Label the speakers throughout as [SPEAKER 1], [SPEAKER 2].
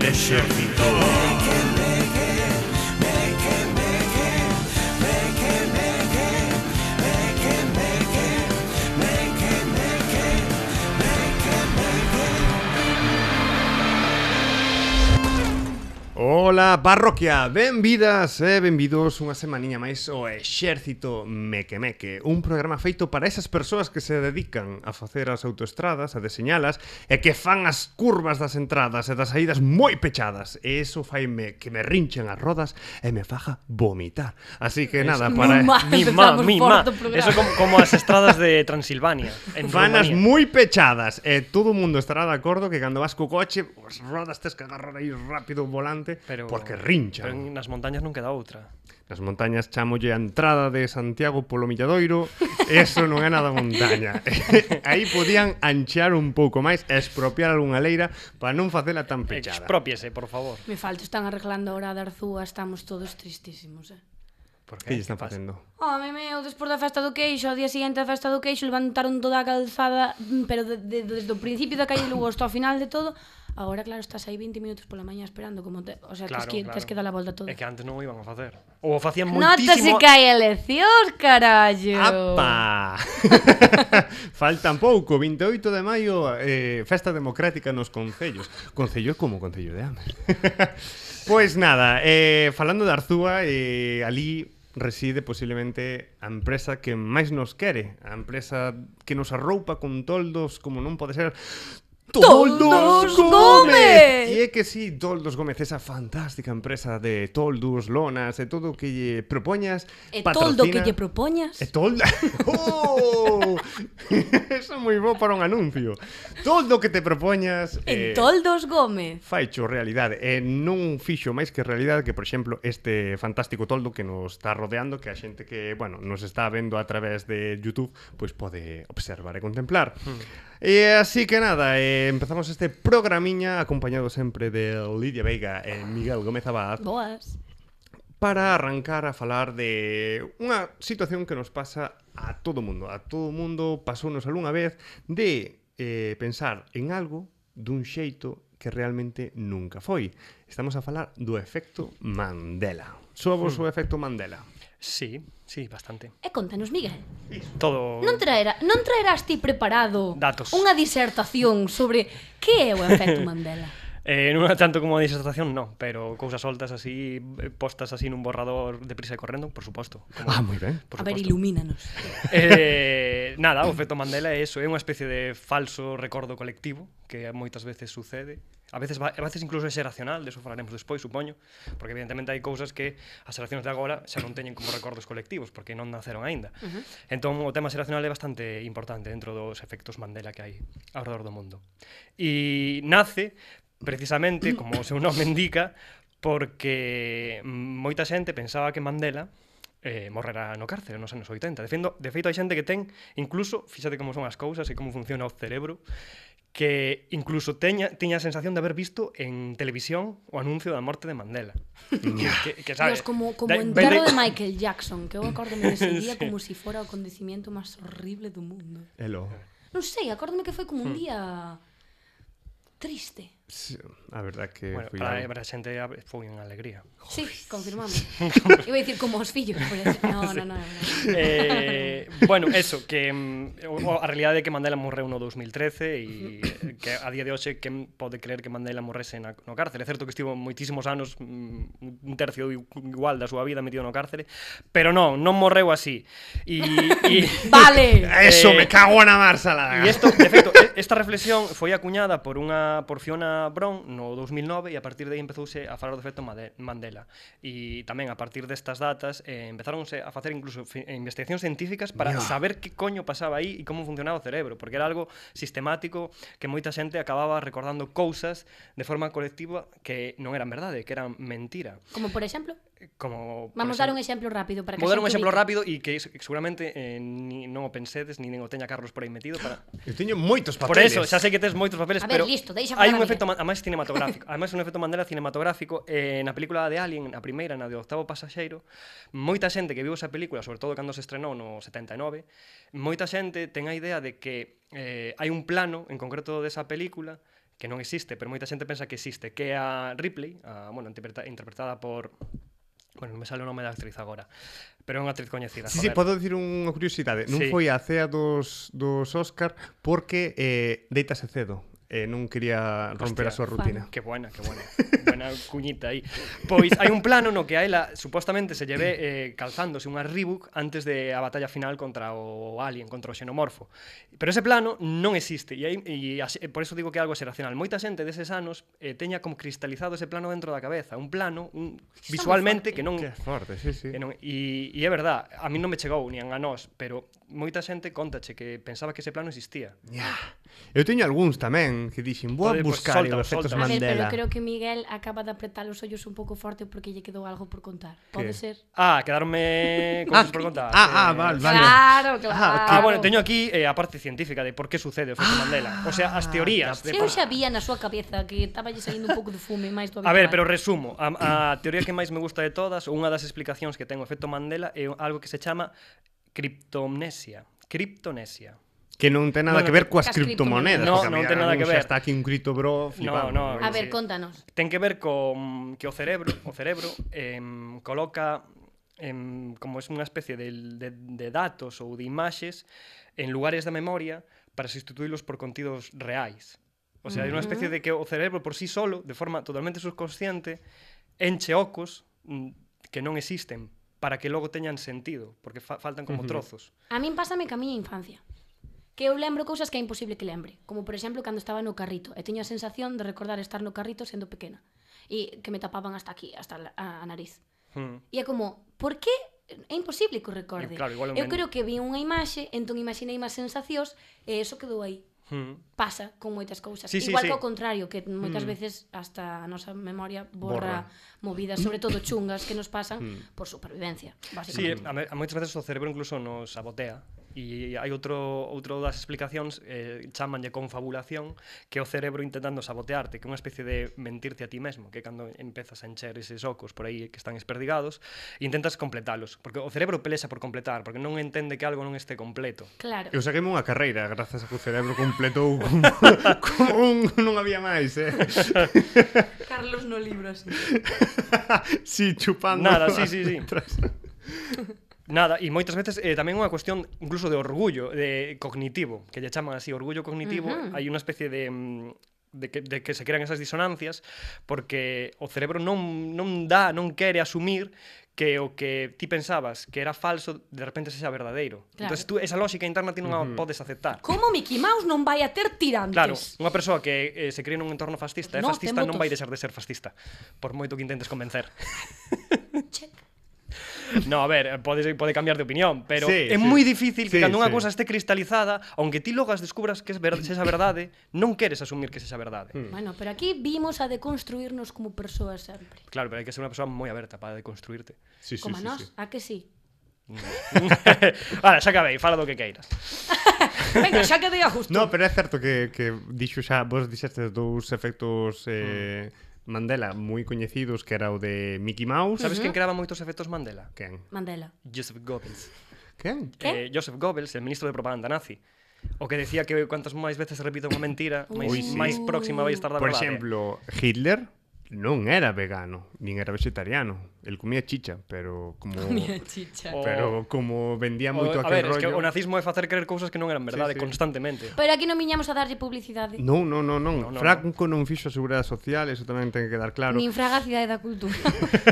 [SPEAKER 1] ejército. Ola parroquia, benvidas e benvidos unha semaniña máis ao Exército Mequemeque Un programa feito para esas persoas que se dedican a facer as autoestradas, a deseñalas E que fan as curvas das entradas e das saídas moi pechadas E iso faime que me rinchen as rodas e me faja vomitar Así que nada, para...
[SPEAKER 2] mal.
[SPEAKER 3] Mima,
[SPEAKER 2] Empezamos
[SPEAKER 3] mima.
[SPEAKER 2] forte o programa.
[SPEAKER 3] Eso como, como as estradas de Transilvania. En
[SPEAKER 1] Vanas
[SPEAKER 3] Rumanía.
[SPEAKER 1] moi pechadas E todo o mundo estará de acordo que cando vas co coche As rodas tes que agarrar aí rápido o volante
[SPEAKER 3] Pero-
[SPEAKER 1] Porque rinchan
[SPEAKER 3] Pero en- nas montañas non queda outra.
[SPEAKER 1] Nas montañas chamolle a entrada de Santiago polo Milladoiro, eso non é nada montaña. Aí podían anchear un pouco máis, e expropiar algunha leira para non facela tan pechada.
[SPEAKER 3] Expropiese, por favor.
[SPEAKER 2] Me falta, están arreglando a hora da Arzúa, estamos todos tristísimos, eh.
[SPEAKER 3] Por
[SPEAKER 1] Que lle están
[SPEAKER 3] pasa?
[SPEAKER 1] facendo?
[SPEAKER 2] Home meu, despois da festa do queixo, ao día siguiente da festa do queixo, levantaron toda a calzada, mm, pero de, de, desde o principio da calle Lugo hasta o final de todo, agora claro, estás aí 20 minutos pola mañá esperando, como te, o sea,
[SPEAKER 3] Claro,
[SPEAKER 2] claro, tes, que,
[SPEAKER 3] claro.
[SPEAKER 2] tes que dar a volta
[SPEAKER 3] É
[SPEAKER 2] toda.
[SPEAKER 3] que antes non o iban a facer. Ou o facían
[SPEAKER 2] Nota se
[SPEAKER 3] moitísimo...
[SPEAKER 2] que hai eleccións, carallo.
[SPEAKER 1] Apa! Faltan pouco, 28 de maio, eh, festa democrática nos concellos. Concello como concello de Ame. pois nada, eh, falando de Arzúa, eh, ali reside posiblemente a empresa que máis nos quere, a empresa que nos arroupa con toldos como non pode ser
[SPEAKER 2] Toldos Gómez!
[SPEAKER 1] E é que sí, Toldos Gómez, esa fantástica empresa de toldos, lonas e todo o que lle propoñas
[SPEAKER 2] E toldo
[SPEAKER 1] patrocina-
[SPEAKER 2] que lle propoñas.
[SPEAKER 1] E tolda. Oh! Eso é moi bo para un anuncio. Todo o que te eh, propoñas
[SPEAKER 3] eh,
[SPEAKER 2] En Toldos Gómez.
[SPEAKER 1] faicho realidade e non fixo máis que realidade que, por exemplo, este fantástico toldo que nos está rodeando, que a xente que, bueno, nos está vendo a través de YouTube, pois pode observar e contemplar. E así que nada, eh, empezamos este programiña acompañado sempre de Lidia Veiga e Miguel Gómez Abad
[SPEAKER 2] Boas.
[SPEAKER 1] para arrancar a falar de unha situación que nos pasa a todo mundo. A todo mundo pasounos algunha vez de eh, pensar en algo dun xeito que realmente nunca foi. Estamos a falar do efecto Mandela. Soa vos o efecto Mandela?
[SPEAKER 3] Sí, sí, bastante.
[SPEAKER 2] E contanos, Miguel.
[SPEAKER 3] Todo...
[SPEAKER 2] Non traera, non traerás ti preparado
[SPEAKER 3] Pois. Datos.
[SPEAKER 2] unha disertación sobre que é o efecto Mandela?
[SPEAKER 3] Eh, non é tanto como a disertación, no, pero cousas soltas así, eh, postas así nun borrador de prisa e correndo, por suposto. Como,
[SPEAKER 1] Ah, moi ben.
[SPEAKER 3] por
[SPEAKER 2] A ver,
[SPEAKER 3] suposto.
[SPEAKER 2] ilumínanos.
[SPEAKER 3] Eh, nada, o efecto Mandela é eso, é unha especie de falso recordo colectivo que moitas veces sucede. A veces va, a veces incluso é xeracional, de eso falaremos despois, supoño, porque evidentemente hai cousas que as xeracións de agora xa non teñen como recordos colectivos, porque non naceron aínda. Uh -huh. Entón o tema xeracional é bastante importante dentro dos efectos Mandela que hai ao redor do mundo. E nace precisamente, como o seu nome indica, porque moita xente pensaba que Mandela eh, morrerá no cárcere nos anos 80. De, fendo, de feito, hai xente que ten, incluso, fíxate como son as cousas e como funciona o cerebro, que incluso teña, tiña a sensación de haber visto en televisión o anuncio da morte de Mandela. que, que, que, sabe,
[SPEAKER 2] Dios, como, como
[SPEAKER 3] da-
[SPEAKER 2] o
[SPEAKER 3] vende-
[SPEAKER 2] enterro de Michael Jackson, que eu acórdome dese día como si fora o acontecimiento máis horrible do mundo.
[SPEAKER 1] Elo.
[SPEAKER 2] Non sei, acórdome que foi como
[SPEAKER 3] Hmm.
[SPEAKER 2] un día triste.
[SPEAKER 1] Sí, A verdad que
[SPEAKER 3] Bueno,
[SPEAKER 1] foi
[SPEAKER 3] para,
[SPEAKER 1] algo.
[SPEAKER 3] para a xente a- foi unha alegría.
[SPEAKER 2] Sí, confirmamos. Iba a dicir como os fillos, pero no, no, no, no.
[SPEAKER 3] eh, bueno, eso, que mm, o- o- a realidade é que Mandela morreu no 2013 e eh, que a día de hoxe que pode creer que Mandela morrese na, no cárcere. É certo que estivo moitísimos anos, mm, un tercio i- igual da súa vida metido no cárcere, pero non, non morreu así. E, e,
[SPEAKER 2] Vale.
[SPEAKER 1] Eso, me
[SPEAKER 3] Eh,
[SPEAKER 1] cago na Marsala.
[SPEAKER 3] E isto, de feito, e- esta reflexión foi acuñada por unha por Fiona Brown no 2009 e a partir de aí empezouse a falar do efecto Made- Mandela. E tamén a partir destas datas eh, empezáronse a facer incluso fi- eh, investigacións científicas para
[SPEAKER 1] Mira.
[SPEAKER 3] saber que coño pasaba aí e como funcionaba o cerebro, porque era algo sistemático que moita xente acababa recordando cousas de forma colectiva que non eran verdade, que eran mentira.
[SPEAKER 2] Como por exemplo,
[SPEAKER 3] Como por
[SPEAKER 2] vamos dar un
[SPEAKER 3] exemplo-
[SPEAKER 2] exemplo rápido para que
[SPEAKER 3] Vou dar un exemplo
[SPEAKER 2] exemplo
[SPEAKER 3] rápido e que se- seguramente eh, ni, non o pensedes, ni nen o teña Carlos por aí metido para...
[SPEAKER 1] Eu teño moitos
[SPEAKER 3] Por
[SPEAKER 1] papeles.
[SPEAKER 3] eso, xa sei que tes moitos papeles,
[SPEAKER 2] A ver,
[SPEAKER 3] pero
[SPEAKER 2] listo, deixa
[SPEAKER 3] hai
[SPEAKER 2] falar a
[SPEAKER 3] un
[SPEAKER 2] Miguel.
[SPEAKER 3] efecto ma- ademais cinematográfico. ademais un efecto Mandela cinematográfico eh, na película de Alien, a primeira, na de Octavo Pasaxeiro, moita xente que viu esa película, sobre todo cando se estrenou no 79, moita xente ten a idea de que eh, hai un plano en concreto desa película que non existe, pero moita xente pensa que existe, que é a Ripley, a, bueno, interpreta, interpretada por Bueno, non me sale o nome da actriz agora Pero é unha actriz coñecida
[SPEAKER 1] Sí, sí,
[SPEAKER 3] joder.
[SPEAKER 1] podo dicir unha curiosidade. Non
[SPEAKER 3] Sí.
[SPEAKER 1] foi a cea dos, dos Oscar porque eh, deitase cedo. Eh, non quería romper a
[SPEAKER 3] Hostia.
[SPEAKER 1] súa rutina.
[SPEAKER 3] Que buena, que buena. buena cuñita aí. Pois hai un plano no que a ela supostamente se lleve eh, calzándose unha Reebok antes de a batalla final contra o alien, contra o xenomorfo. Pero ese plano non existe e, hai, e así- e por eso digo que é algo xeracional. Moita xente deses anos eh, teña como cristalizado ese plano dentro da cabeza, un plano un,
[SPEAKER 2] moi
[SPEAKER 3] visualmente
[SPEAKER 2] forte.
[SPEAKER 3] que non
[SPEAKER 1] Que forte, sí, sí.
[SPEAKER 3] E, non, e, e é verdad, a mí non me chegou, nin a nós, pero moita xente contache que pensaba que ese plano existía.
[SPEAKER 1] Ya. Eu teño algúns tamén que dixen, vou a
[SPEAKER 3] Joder, pois
[SPEAKER 1] buscar
[SPEAKER 3] solta,
[SPEAKER 1] os efectos
[SPEAKER 3] solta.
[SPEAKER 2] A ver,
[SPEAKER 1] Mandela.
[SPEAKER 2] pero creo que Miguel acaba de apretar los hoyos un poco fuerte porque lle quedó algo por contar. ¿Puede
[SPEAKER 1] ¿Qué?
[SPEAKER 2] ser?
[SPEAKER 3] Ah, quedarme con
[SPEAKER 1] Ah,
[SPEAKER 3] sus preguntas.
[SPEAKER 1] ah, ah,
[SPEAKER 3] Eh,
[SPEAKER 1] vale, vale.
[SPEAKER 2] Claro, claro.
[SPEAKER 1] Ah,
[SPEAKER 3] Ah, bueno, teño aquí eh, a parte científica de por qué sucede o efecto Mandela. O sea, as teorías. De
[SPEAKER 2] Se eu
[SPEAKER 3] por...
[SPEAKER 2] xa vía na súa cabeza que estaba lle saindo un pouco de fume máis do
[SPEAKER 3] A ver, pero
[SPEAKER 2] habitual.
[SPEAKER 3] resumo. A, a teoría que máis me gusta de todas, ou unha das explicacións que ten o efecto Mandela, é algo que se chama criptomnesia. Criptonesia.
[SPEAKER 1] Que non ten nada
[SPEAKER 3] No,
[SPEAKER 1] que
[SPEAKER 3] no,
[SPEAKER 1] ver coas
[SPEAKER 2] cas
[SPEAKER 1] criptomonedas.
[SPEAKER 2] criptomonedas.
[SPEAKER 3] No,
[SPEAKER 1] porque
[SPEAKER 3] non
[SPEAKER 1] había
[SPEAKER 3] ten nada que
[SPEAKER 1] algúns
[SPEAKER 3] ver.
[SPEAKER 1] Hasta aquí un cripto bro flipando.
[SPEAKER 3] no,
[SPEAKER 2] A ver,
[SPEAKER 3] Sí.
[SPEAKER 2] contanos.
[SPEAKER 3] Ten que ver con que o cerebro, o cerebro em, coloca em, como es unha especie de, de, de datos ou de imaxes en lugares da memoria para sustituílos por contidos reais. O sea, hai unha especie de que o cerebro por sí solo, de forma totalmente subconsciente, enche ocos mm, que non existen para que logo teñan sentido, porque fa faltan como trozos.
[SPEAKER 2] A min pásame que a miña infancia que eu lembro cousas que é imposible que lembre, como por exemplo cando estaba no carrito, e teño a sensación de recordar estar no carrito sendo pequena e que me tapaban hasta aquí, hasta la- a, a nariz.
[SPEAKER 3] Mm.
[SPEAKER 2] E é como, por que é imposible que o
[SPEAKER 3] E,
[SPEAKER 2] recorde?
[SPEAKER 3] claro, igual é un
[SPEAKER 2] eu
[SPEAKER 3] men-
[SPEAKER 2] creo que vi unha imaxe, entón imaginei máis sensacións e eso quedou aí.
[SPEAKER 3] Mm.
[SPEAKER 2] Pasa con moitas cousas.
[SPEAKER 3] Sí, sí,
[SPEAKER 2] Igual
[SPEAKER 3] sí.
[SPEAKER 2] que ao contrario, que moitas
[SPEAKER 3] Mm.
[SPEAKER 2] veces hasta a nosa memoria
[SPEAKER 1] Borra.
[SPEAKER 2] borra, movidas, sobre todo chungas que nos pasan por supervivencia,
[SPEAKER 3] Sí,
[SPEAKER 2] básicamente.
[SPEAKER 3] a, me- a moitas veces o cerebro incluso nos sabotea e hai outro outro das explicacións eh, chamanlle confabulación que é o cerebro intentando sabotearte que é unha especie de mentirte a ti mesmo que cando empezas a encher eses ocos por aí que están esperdigados intentas completalos porque o cerebro pelesa por completar porque non entende que algo non este completo
[SPEAKER 2] Claro.
[SPEAKER 1] Eu saquei unha carreira grazas a que o cerebro completou como, como un, non había máis, eh.
[SPEAKER 2] Carlos no libros.
[SPEAKER 1] Si sí, chupando.
[SPEAKER 3] Nada, sí, sí, sí.
[SPEAKER 1] Tras-
[SPEAKER 3] Nada, e moitas veces eh, tamén unha cuestión incluso de orgullo de cognitivo, que lle chaman así orgullo cognitivo,
[SPEAKER 2] Ujú.
[SPEAKER 3] hai unha especie de mm, de que, de que se crean esas disonancias porque o cerebro non, non dá, non quere asumir que o que ti pensabas que era falso de repente sexa verdadeiro.
[SPEAKER 2] Claro.
[SPEAKER 3] Entón tú esa lógica interna ti non a podes aceptar.
[SPEAKER 2] Como Mickey Mouse non vai a ter tirantes?
[SPEAKER 3] Claro, unha persoa que eh, se cría nun entorno fascista, é
[SPEAKER 2] No, ten
[SPEAKER 3] fascista non vai
[SPEAKER 2] votos.
[SPEAKER 3] deixar de ser fascista, por moito que intentes convencer.
[SPEAKER 2] Check.
[SPEAKER 3] No, a ver, eh, podes pode cambiar de opinión, pero
[SPEAKER 1] Sí, sí.
[SPEAKER 3] é moi difícil
[SPEAKER 1] Sí,
[SPEAKER 3] que cando unha
[SPEAKER 1] sí.
[SPEAKER 3] cousa este cristalizada, aunque ti logo as descubras que é ver, esa verdade, non queres asumir que é esa verdade.
[SPEAKER 1] Hmm.
[SPEAKER 2] Bueno, pero aquí vimos a deconstruirnos como persoas sempre.
[SPEAKER 3] Claro, pero hai que ser unha persoa moi aberta para deconstruirte.
[SPEAKER 1] Sí, sí,
[SPEAKER 2] como
[SPEAKER 1] sí,
[SPEAKER 2] a nós,
[SPEAKER 1] sí.
[SPEAKER 2] a que sí?
[SPEAKER 3] Vale, xa acabei, fala do que queiras.
[SPEAKER 2] Venga, xa que dei a justo.
[SPEAKER 1] No, pero é certo que, que dixo xa, vos dixestes dous efectos
[SPEAKER 3] Mm.
[SPEAKER 1] eh, Mandela moi coñecidos que era o de Mickey Mouse.
[SPEAKER 3] Sabes quen creaba moitos efectos Mandela?
[SPEAKER 1] Quen?
[SPEAKER 2] Mandela.
[SPEAKER 3] Joseph Goebbels.
[SPEAKER 1] Quen?
[SPEAKER 3] Eh,
[SPEAKER 2] Quen?
[SPEAKER 3] Joseph Goebbels, el ministro de propaganda nazi. O que decía que cuantas máis veces se repita unha mentira, máis,
[SPEAKER 1] sí.
[SPEAKER 3] máis próxima vai estar da
[SPEAKER 1] Por
[SPEAKER 3] verdade.
[SPEAKER 1] exemplo, Hitler non era vegano, nin era vegetariano. El comía chicha, pero como
[SPEAKER 2] chicha.
[SPEAKER 3] O-
[SPEAKER 1] pero como vendía
[SPEAKER 3] o,
[SPEAKER 1] moito
[SPEAKER 3] a
[SPEAKER 1] aquel
[SPEAKER 3] ver,
[SPEAKER 1] rollo.
[SPEAKER 3] es que o nazismo é facer creer cousas que non eran verdade
[SPEAKER 1] sí.
[SPEAKER 3] constantemente.
[SPEAKER 2] Pero aquí non viñamos a darlle publicidade.
[SPEAKER 1] Non, non, non, non.
[SPEAKER 3] No, no,
[SPEAKER 1] Franco non fixo a Seguridade Social, eso tamén ten que quedar claro.
[SPEAKER 2] Nin fragacidade da cultura.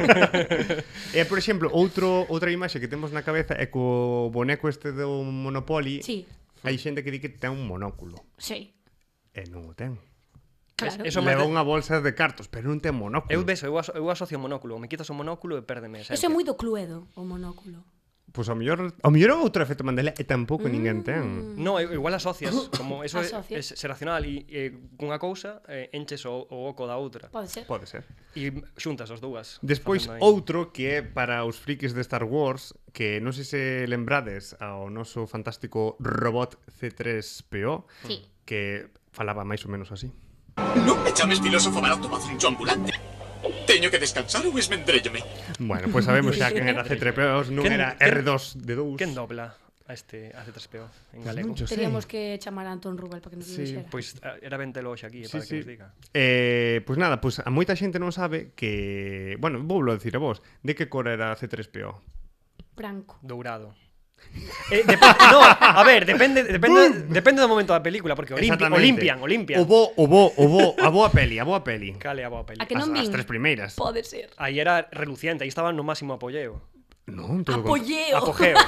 [SPEAKER 1] E, Eh, por exemplo, outro outra imaxe que temos na cabeza é co boneco este do Monopoly.
[SPEAKER 2] sí,
[SPEAKER 1] Hai xente que di que ten un monóculo.
[SPEAKER 2] sí.
[SPEAKER 1] E non o ten.
[SPEAKER 3] Es-
[SPEAKER 2] Claro. Es,
[SPEAKER 3] eso-
[SPEAKER 2] eso...
[SPEAKER 1] Leva
[SPEAKER 3] máis de-
[SPEAKER 1] unha bolsa de cartos, pero non ten monóculo.
[SPEAKER 3] Eu ves, eu, aso, eu asocio o monóculo, me quitas o monóculo e pérdeme.
[SPEAKER 2] é moi do Cluedo, o monóculo.
[SPEAKER 1] Pois ao mellor, ao mellor é outro efecto Mandela e tampouco mm. ninguén ten.
[SPEAKER 3] No, eu- igual asocias, como eso é,
[SPEAKER 2] Asocio.
[SPEAKER 3] é xeracional e, e cunha cousa eh, enches o, o oco da outra
[SPEAKER 2] Pode ser.
[SPEAKER 1] Pode ser.
[SPEAKER 3] e xuntas as dúas.
[SPEAKER 1] Despois
[SPEAKER 3] facendo aí.
[SPEAKER 1] outro que é para os frikis de Star Wars, que non sei se lembrades ao noso fantástico robot C3PO,
[SPEAKER 2] Sí.
[SPEAKER 1] que falaba máis ou menos así.
[SPEAKER 4] Non me chames filósofo barato pacincho ambulante. Teño que descansar ou esmendrélome.
[SPEAKER 1] Bueno, pois pues sabemos xa quen era C3PO, non
[SPEAKER 3] Quen-
[SPEAKER 1] era
[SPEAKER 3] quen-
[SPEAKER 1] R2 de 2.
[SPEAKER 3] Quen dobla a este a C3PO
[SPEAKER 1] Pois
[SPEAKER 3] en galego.
[SPEAKER 1] non cho sei.
[SPEAKER 2] Teríamos que chamar a Antón Rubel para que nos
[SPEAKER 1] Pues Sí, pues-
[SPEAKER 2] sí,
[SPEAKER 3] Pois ah,
[SPEAKER 2] dixera.
[SPEAKER 3] era ventelo hoxe aquí, eh,
[SPEAKER 1] Sí,
[SPEAKER 3] para
[SPEAKER 1] sí.
[SPEAKER 3] que nos diga.
[SPEAKER 1] Eh, pois nada, pois a moita xente non sabe que, bueno, vou dicir a vos, de que cor era C3PO.
[SPEAKER 2] Branco.
[SPEAKER 3] Dourado. Eh, depe- no, a ver, depende, depende, depende do momento da película, porque Olimpi
[SPEAKER 1] Exactamente.
[SPEAKER 3] Olimpian, Olimpian.
[SPEAKER 1] O bo, o bo, o bo, a boa peli, a boa peli.
[SPEAKER 3] Cale a boa peli.
[SPEAKER 2] A que non
[SPEAKER 1] as, as
[SPEAKER 2] vin.
[SPEAKER 1] tres primeiras.
[SPEAKER 2] Pode ser.
[SPEAKER 3] Aí era reluciente, aí estaba no máximo apolleo.
[SPEAKER 1] Non, todo con-
[SPEAKER 2] Apolleo.
[SPEAKER 3] Apogeo.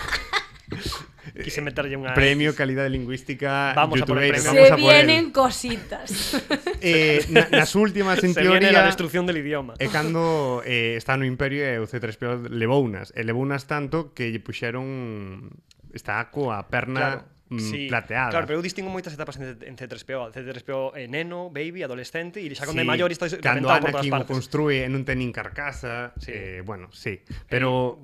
[SPEAKER 3] Quise meterlle unha
[SPEAKER 1] Premio calidade lingüística
[SPEAKER 3] Vamos a por el
[SPEAKER 1] youtubeiro,
[SPEAKER 3] premio.
[SPEAKER 1] vamos
[SPEAKER 2] Se
[SPEAKER 1] a por
[SPEAKER 2] vienen
[SPEAKER 1] el.
[SPEAKER 2] cositas.
[SPEAKER 1] Eh, na, nas últimas en
[SPEAKER 3] Se viene
[SPEAKER 1] teoría
[SPEAKER 3] la destrucción del idioma.
[SPEAKER 1] E cando eh, está no Imperio e o C3PO levounas, e levounas tanto que lle puxeron está coa perna mm, plateada.
[SPEAKER 3] Claro, pero eu distingo moitas etapas en, en C3PO. C3PO é eh, neno, baby, adolescente e
[SPEAKER 1] Sí,
[SPEAKER 3] xa con de maior está
[SPEAKER 1] cando
[SPEAKER 3] inventado por todas
[SPEAKER 1] Anakin o
[SPEAKER 3] partes.
[SPEAKER 1] construe e non ten nin carcasa,
[SPEAKER 3] Sí.
[SPEAKER 1] eh, bueno, sí, pero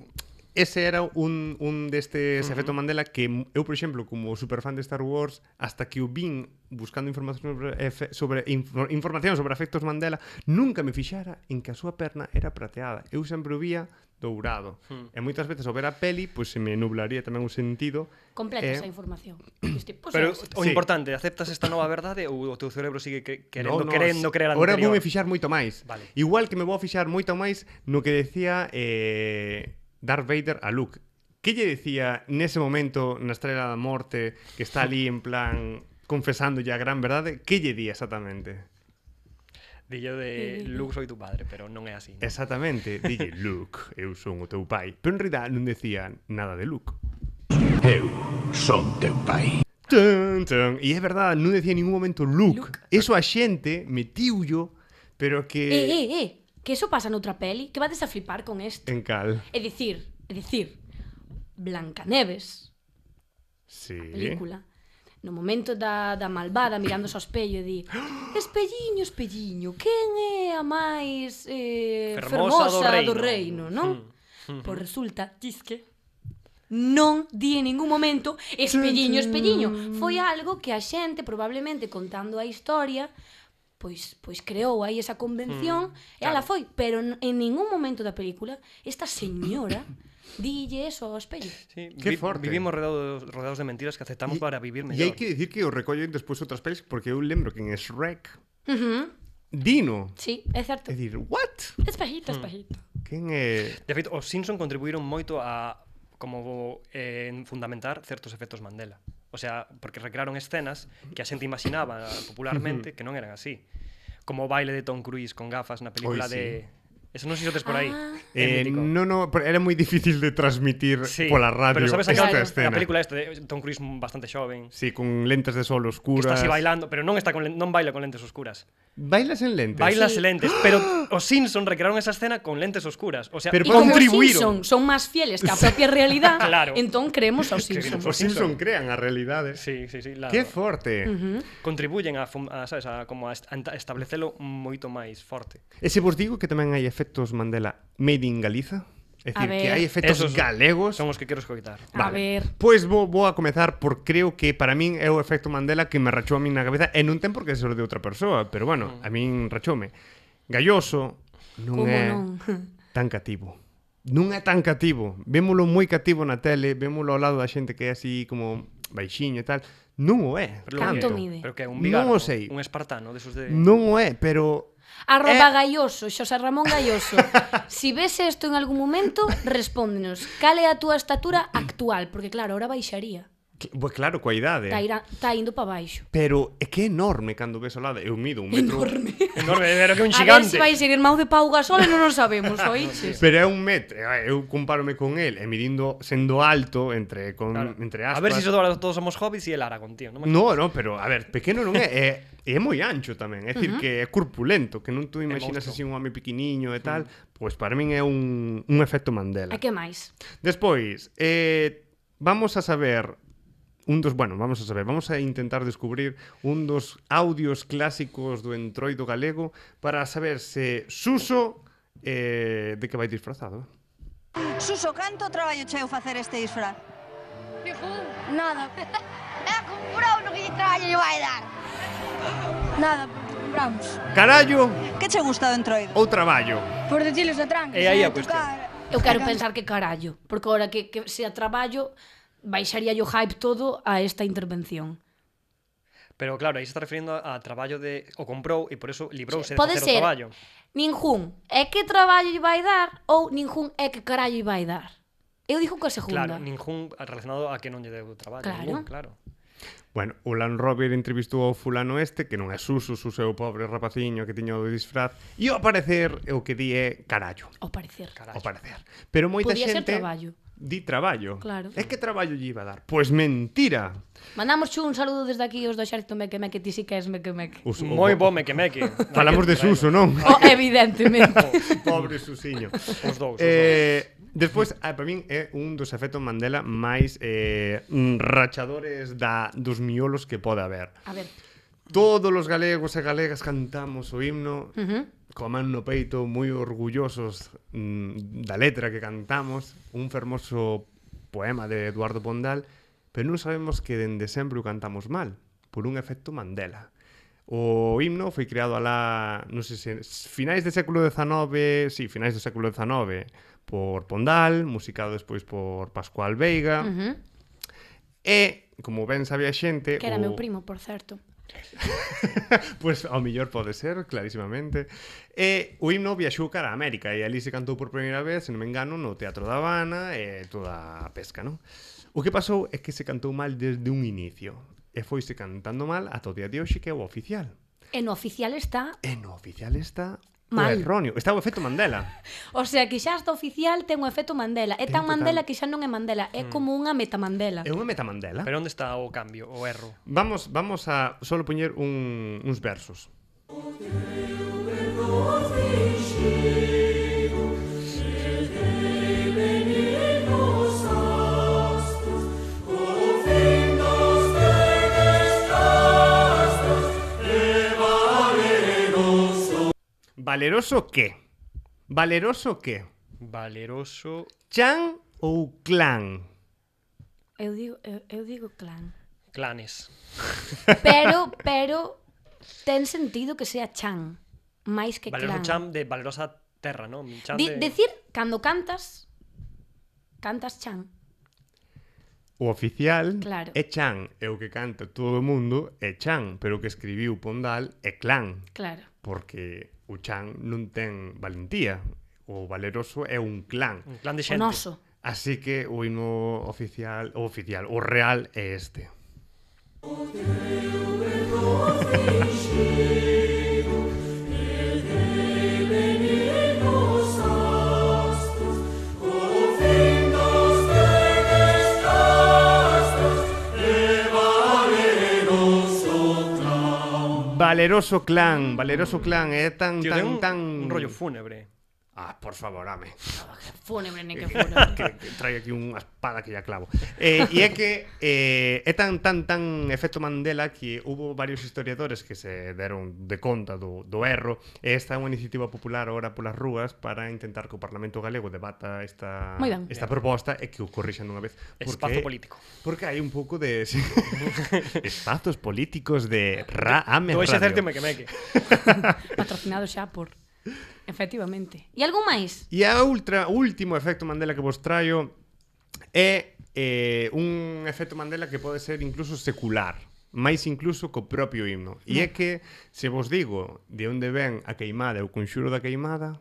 [SPEAKER 1] ese era un, un destes uh -huh. efecto Mandela que m- eu, por exemplo, como superfan de Star Wars, hasta que o vin buscando información sobre, efe- sobre infor, información sobre efectos Mandela, nunca me fixara en que a súa perna era prateada. Eu sempre o vía dourado. Hmm. E moitas veces ao ver a peli, pois pues, se me nublaría tamén un sentido.
[SPEAKER 2] Completa
[SPEAKER 1] Eh,
[SPEAKER 2] esa información. Este, pues,
[SPEAKER 3] Pero
[SPEAKER 2] sí.
[SPEAKER 3] o
[SPEAKER 1] Sí.
[SPEAKER 3] importante, aceptas esta nova verdade ou o teu cerebro sigue que,
[SPEAKER 1] No,
[SPEAKER 3] querendo,
[SPEAKER 1] no,
[SPEAKER 3] querendo crear
[SPEAKER 1] Ahora
[SPEAKER 3] anterior?
[SPEAKER 1] voume fixar moito máis.
[SPEAKER 3] Vale.
[SPEAKER 1] Igual que me vou a fixar moito máis no que decía eh, Darth Vader a Luke. Que lle decía nese momento na Estrela da Morte que está ali en plan confesando ya a gran verdade? Que lle día exactamente?
[SPEAKER 3] Dillo de Luke soy tu padre, pero non é así. ¿no?
[SPEAKER 1] Exactamente, dille Luke, eu son o teu pai. Pero en realidad non decía nada de Luke. Eu
[SPEAKER 4] Son teu pai.
[SPEAKER 1] Tan, tan. E é verdade, non decía en ningún momento Luke.
[SPEAKER 2] Luke.
[SPEAKER 1] Eso a xente metiullo, pero que...
[SPEAKER 2] Eh, eh, eh. Que eso pasa noutra peli. Que vades a flipar con esto.
[SPEAKER 1] En cal.
[SPEAKER 2] É dicir, é dicir, Blancaneves,
[SPEAKER 1] Sí.
[SPEAKER 2] película, no momento da, da malvada mirándose ao espello e di Espelliño, espelliño, quen é a máis eh,
[SPEAKER 3] Fermosa do reino."
[SPEAKER 2] fermosa,
[SPEAKER 3] Hmm.
[SPEAKER 2] do, reino, non? Pois resulta, disque, non di en ningún momento espelliño, espelliño. Foi algo que a xente, probablemente contando a historia, pois pois creou aí esa convención
[SPEAKER 3] Hmm,
[SPEAKER 2] e ala foi, pero n- en ningún momento da película esta señora dille eso ao espello.
[SPEAKER 3] Sí,
[SPEAKER 1] Qué forte.
[SPEAKER 3] Vivimos rodeados, rodeados de mentiras que aceptamos
[SPEAKER 1] Y-
[SPEAKER 3] para vivir
[SPEAKER 1] E
[SPEAKER 3] mellor.
[SPEAKER 1] hai que dicir que o recollen despois outras pelis porque eu lembro que en Shrek
[SPEAKER 2] Ujú.
[SPEAKER 1] Dino
[SPEAKER 2] Sí, é certo.
[SPEAKER 1] é dicir, what? eh,
[SPEAKER 2] Espejito,
[SPEAKER 3] Hmm.
[SPEAKER 2] espejito.
[SPEAKER 1] Quen é
[SPEAKER 3] De feito, os Simpson contribuíron moito a como eh, en fundamentar certos efectos Mandela. O sea, porque recrearon escenas que a xente imaginaba popularmente que non eran así. Como o baile de Tom Cruise con gafas na película
[SPEAKER 1] Oi, sí.
[SPEAKER 3] de... Eso non sei se o tes por aí.
[SPEAKER 2] Ah.
[SPEAKER 1] Eh,
[SPEAKER 3] mítico.
[SPEAKER 1] no, no, pero era moi difícil de transmitir
[SPEAKER 3] Sí,
[SPEAKER 1] pola radio
[SPEAKER 3] Pero sabes
[SPEAKER 1] esta
[SPEAKER 3] aquela-
[SPEAKER 1] escena.
[SPEAKER 3] a película esta de Tom Cruise bastante xoven,
[SPEAKER 1] Sí, con lentes de sol
[SPEAKER 3] que
[SPEAKER 1] oscuras.
[SPEAKER 3] está así bailando, pero non está con len- non baila con lentes oscuras.
[SPEAKER 1] Bailas en lentes.
[SPEAKER 3] Bailas e lentes, pero os Simpson recrearon esa escena con lentes oscuras, o sea,
[SPEAKER 1] Pero
[SPEAKER 2] Y como os
[SPEAKER 3] contribuíron.
[SPEAKER 2] Simpson son más fieles que a propia realidad,
[SPEAKER 3] Claro.
[SPEAKER 2] entón creemos aos
[SPEAKER 3] Que creemos.
[SPEAKER 2] Simpson.
[SPEAKER 1] Os Simpson crean a realidade.
[SPEAKER 3] Sí, sí, sí, la-
[SPEAKER 1] Que forte.
[SPEAKER 3] contribuyen a, fun- a, sabes, a como a, est- a enta- establecelo moito máis forte.
[SPEAKER 1] E se vos digo que tamén hai efectos Mandela made in Galiza, é dicir,
[SPEAKER 2] A
[SPEAKER 1] que
[SPEAKER 2] ver.
[SPEAKER 1] hai efectos
[SPEAKER 3] Esos son-
[SPEAKER 1] galegos
[SPEAKER 3] Son os que quero escoitar.
[SPEAKER 2] A ver.
[SPEAKER 1] Pois vou, vou a comezar por creo que para min é o efecto Mandela que me rachou a min na cabeza e non ten por que ser de outra persoa, pero
[SPEAKER 3] Mm.
[SPEAKER 1] bueno, a min rachoume. Galloso non
[SPEAKER 2] Como
[SPEAKER 1] é
[SPEAKER 2] non?
[SPEAKER 1] tan cativo. Non é tan cativo. Vémolo moi cativo na tele, vémolo ao lado da xente que é así como baixinho e tal. Non o é.
[SPEAKER 3] Pero
[SPEAKER 2] Canto
[SPEAKER 1] tanto.
[SPEAKER 3] que-
[SPEAKER 2] mide?
[SPEAKER 3] Pero que é un
[SPEAKER 1] Non
[SPEAKER 3] bigardo,
[SPEAKER 1] o sei.
[SPEAKER 3] un espartano desos de
[SPEAKER 1] Non o é, pero
[SPEAKER 2] Arroba
[SPEAKER 1] Eh.
[SPEAKER 2] Gaioso, Xosé Ramón Gaioso. Si ves esto en algún momento, respóndenos. Cal é a túa estatura actual? Porque claro, ahora baixaría.
[SPEAKER 1] cl- pois claro, coa
[SPEAKER 3] Eh.
[SPEAKER 1] idade.
[SPEAKER 2] Está, ira, está indo para baixo.
[SPEAKER 1] Pero é que é enorme cando ves ao lado. Eu mido un metro.
[SPEAKER 2] Enorme.
[SPEAKER 3] enorme, pero que un
[SPEAKER 2] A ver se
[SPEAKER 3] gigante.
[SPEAKER 2] vai ser irmão de Pau Gasol e non o sabemos, oiches?
[SPEAKER 1] Pero é un metro, eu compárome con el, e midindo sendo alto entre con
[SPEAKER 3] Claro.
[SPEAKER 1] entre aspas.
[SPEAKER 3] A ver se si todos, todos somos hobbits e el Aragón, tío. Non me
[SPEAKER 1] No, no, pero a ver, pequeno non é, é, é moi ancho tamén, é dicir que é corpulento, que non tú imaginas
[SPEAKER 3] monstro.
[SPEAKER 1] así un home pequeniño e tal, pois para min é un, un efecto Mandela.
[SPEAKER 2] E que máis?
[SPEAKER 1] Despois, eh, vamos a saber un dos, bueno, vamos a saber, vamos a intentar descubrir un dos audios clásicos do entroido galego para saber se Suso eh, de que vai disfrazado.
[SPEAKER 5] Suso, canto traballo cheu facer este disfraz?
[SPEAKER 6] Nada. É comprou no que traballo lle vai dar. Nada, porque compramos.
[SPEAKER 1] Carallo
[SPEAKER 5] Que che gusta do entroido?
[SPEAKER 1] ou traballo?
[SPEAKER 6] Por detilos a tranca.
[SPEAKER 3] E aí
[SPEAKER 6] sabe
[SPEAKER 3] a cuestión.
[SPEAKER 5] Tocar.
[SPEAKER 2] Eu quero pensar que carallo, porque ahora que, que sea traballo baixaría yo hype todo a esta intervención.
[SPEAKER 3] Pero claro, aí se está referindo a, a traballo de o comprou e por eso librouse de
[SPEAKER 2] Pode
[SPEAKER 3] facer o
[SPEAKER 2] ser
[SPEAKER 3] traballo.
[SPEAKER 2] Ningún é que traballo lle vai dar ou ningún é que carallo lle vai dar. Eu dixo que a segunda.
[SPEAKER 3] Claro, ningún relacionado a que non lle deu o traballo.
[SPEAKER 2] Claro.
[SPEAKER 3] Ningún, claro.
[SPEAKER 1] Bueno, o Lan Rover entrevistou ao fulano este Que non é Suso, Suso é o pobre rapaciño que tiña o disfraz E ao aparecer o que di é carallo
[SPEAKER 2] Ao parecer.
[SPEAKER 1] Ao
[SPEAKER 3] Carallo.
[SPEAKER 1] parecer Pero moita
[SPEAKER 2] Podía ser
[SPEAKER 1] xente
[SPEAKER 2] traballo.
[SPEAKER 1] Di traballo
[SPEAKER 2] Claro.
[SPEAKER 1] É que traballo lle iba a dar Pois mentira
[SPEAKER 2] Mandamos un saludo desde aquí os do Xército Meque Meque, ti si que és Meque Meque.
[SPEAKER 1] Os- o-
[SPEAKER 3] Moi bo meque-meque.
[SPEAKER 1] Falamos de Suso, non?
[SPEAKER 2] Oh, evidentemente.
[SPEAKER 1] Pobre Susiño
[SPEAKER 3] Os dous. os
[SPEAKER 1] Eh, despois, ah, para min é un dos efectos Mandela máis eh, mm, rachadores da, dos miolos que pode haber.
[SPEAKER 2] A ver.
[SPEAKER 1] Todos os galegos e galegas cantamos o himno uh
[SPEAKER 2] Ujú.
[SPEAKER 1] coa man no peito, moi orgullosos mm, da letra que cantamos, un fermoso poema de Eduardo Pondal, pero non sabemos que dende sempre o cantamos mal, por un efecto Mandela. O himno foi creado a la, non sei se, finais do século XIX, si, sí, finais do século XIX, por Pondal, musicado despois por Pascual Veiga, uh -huh.
[SPEAKER 2] Ujú.
[SPEAKER 1] e, como ben sabía a xente...
[SPEAKER 2] Que era
[SPEAKER 1] o...
[SPEAKER 2] meu primo, por certo.
[SPEAKER 1] Pois ao mellor pode ser, clarísimamente. E o himno viaxou cara a América e ali se cantou por primeira vez, se non me engano, no Teatro da Habana e toda a pesca, non? O que pasou é que se cantou mal desde un inicio e foise cantando mal ata o día de hoxe que é o oficial.
[SPEAKER 2] E no oficial está
[SPEAKER 1] E no oficial está
[SPEAKER 2] Mal.
[SPEAKER 1] o erróneo. Está o efecto Mandela.
[SPEAKER 2] O sea, que xa hasta oficial ten o efecto Mandela. É
[SPEAKER 1] Ten
[SPEAKER 2] tan
[SPEAKER 1] total.
[SPEAKER 2] Mandela que xa non é Mandela,
[SPEAKER 3] Mm.
[SPEAKER 2] é como unha
[SPEAKER 1] É
[SPEAKER 2] metamandela.
[SPEAKER 1] unha meta Mandela.
[SPEAKER 3] Pero onde está o cambio, o erro?
[SPEAKER 1] Vamos, vamos a solo poñer un, uns versos. Valeroso que? Valeroso que?
[SPEAKER 3] Valeroso
[SPEAKER 1] Chan ou clan?
[SPEAKER 2] Eu digo, eu, eu digo clan.
[SPEAKER 3] clanes.
[SPEAKER 2] Pero, pero ten sentido que sea Chan, máis que
[SPEAKER 3] Valeroso
[SPEAKER 2] clan.
[SPEAKER 3] chan de valerosa terra, non? Chan
[SPEAKER 2] Di,
[SPEAKER 3] de...
[SPEAKER 2] decir cando cantas cantas Chan.
[SPEAKER 1] O oficial
[SPEAKER 2] Claro.
[SPEAKER 1] é Chan, é o que canta todo o mundo é Chan, pero o que escribiu Pondal é clan,
[SPEAKER 2] Claro.
[SPEAKER 1] porque o Chan non ten valentía, o valeroso é un clan.
[SPEAKER 3] Un clan de
[SPEAKER 2] O
[SPEAKER 3] xente.
[SPEAKER 2] noso.
[SPEAKER 1] Así que o himno oficial, o oficial, o real é este. Valeroso clan, valeroso clan, é tan
[SPEAKER 3] Tío, ten
[SPEAKER 1] tan
[SPEAKER 3] un,
[SPEAKER 1] tan
[SPEAKER 3] un rollo fúnebre.
[SPEAKER 1] Ah, por favor, ame.
[SPEAKER 2] Fúnebre, ni que fúnebre.
[SPEAKER 1] que, que trae aquí unha espada que ya clavo. Eh, e é que eh, é tan tan tan efecto Mandela que hubo varios historiadores que se deron de conta do, do erro e esta é unha iniciativa popular ahora polas rúas para intentar que o Parlamento Galego debata esta,
[SPEAKER 2] Moi ben.
[SPEAKER 1] esta proposta e que o corrixan dunha vez.
[SPEAKER 3] Espazo político.
[SPEAKER 1] Porque hai un pouco de... espazos políticos de ra, ame
[SPEAKER 3] Do ese
[SPEAKER 1] radio.
[SPEAKER 3] certo meque-meque.
[SPEAKER 2] Patrocinado xa por Efectivamente. E algún máis?
[SPEAKER 1] E a ultra, último efecto Mandela que vos traio é eh, un efecto Mandela que pode ser incluso secular máis incluso co propio himno. E é que, se vos digo de onde ven a queimada e o conxuro da queimada,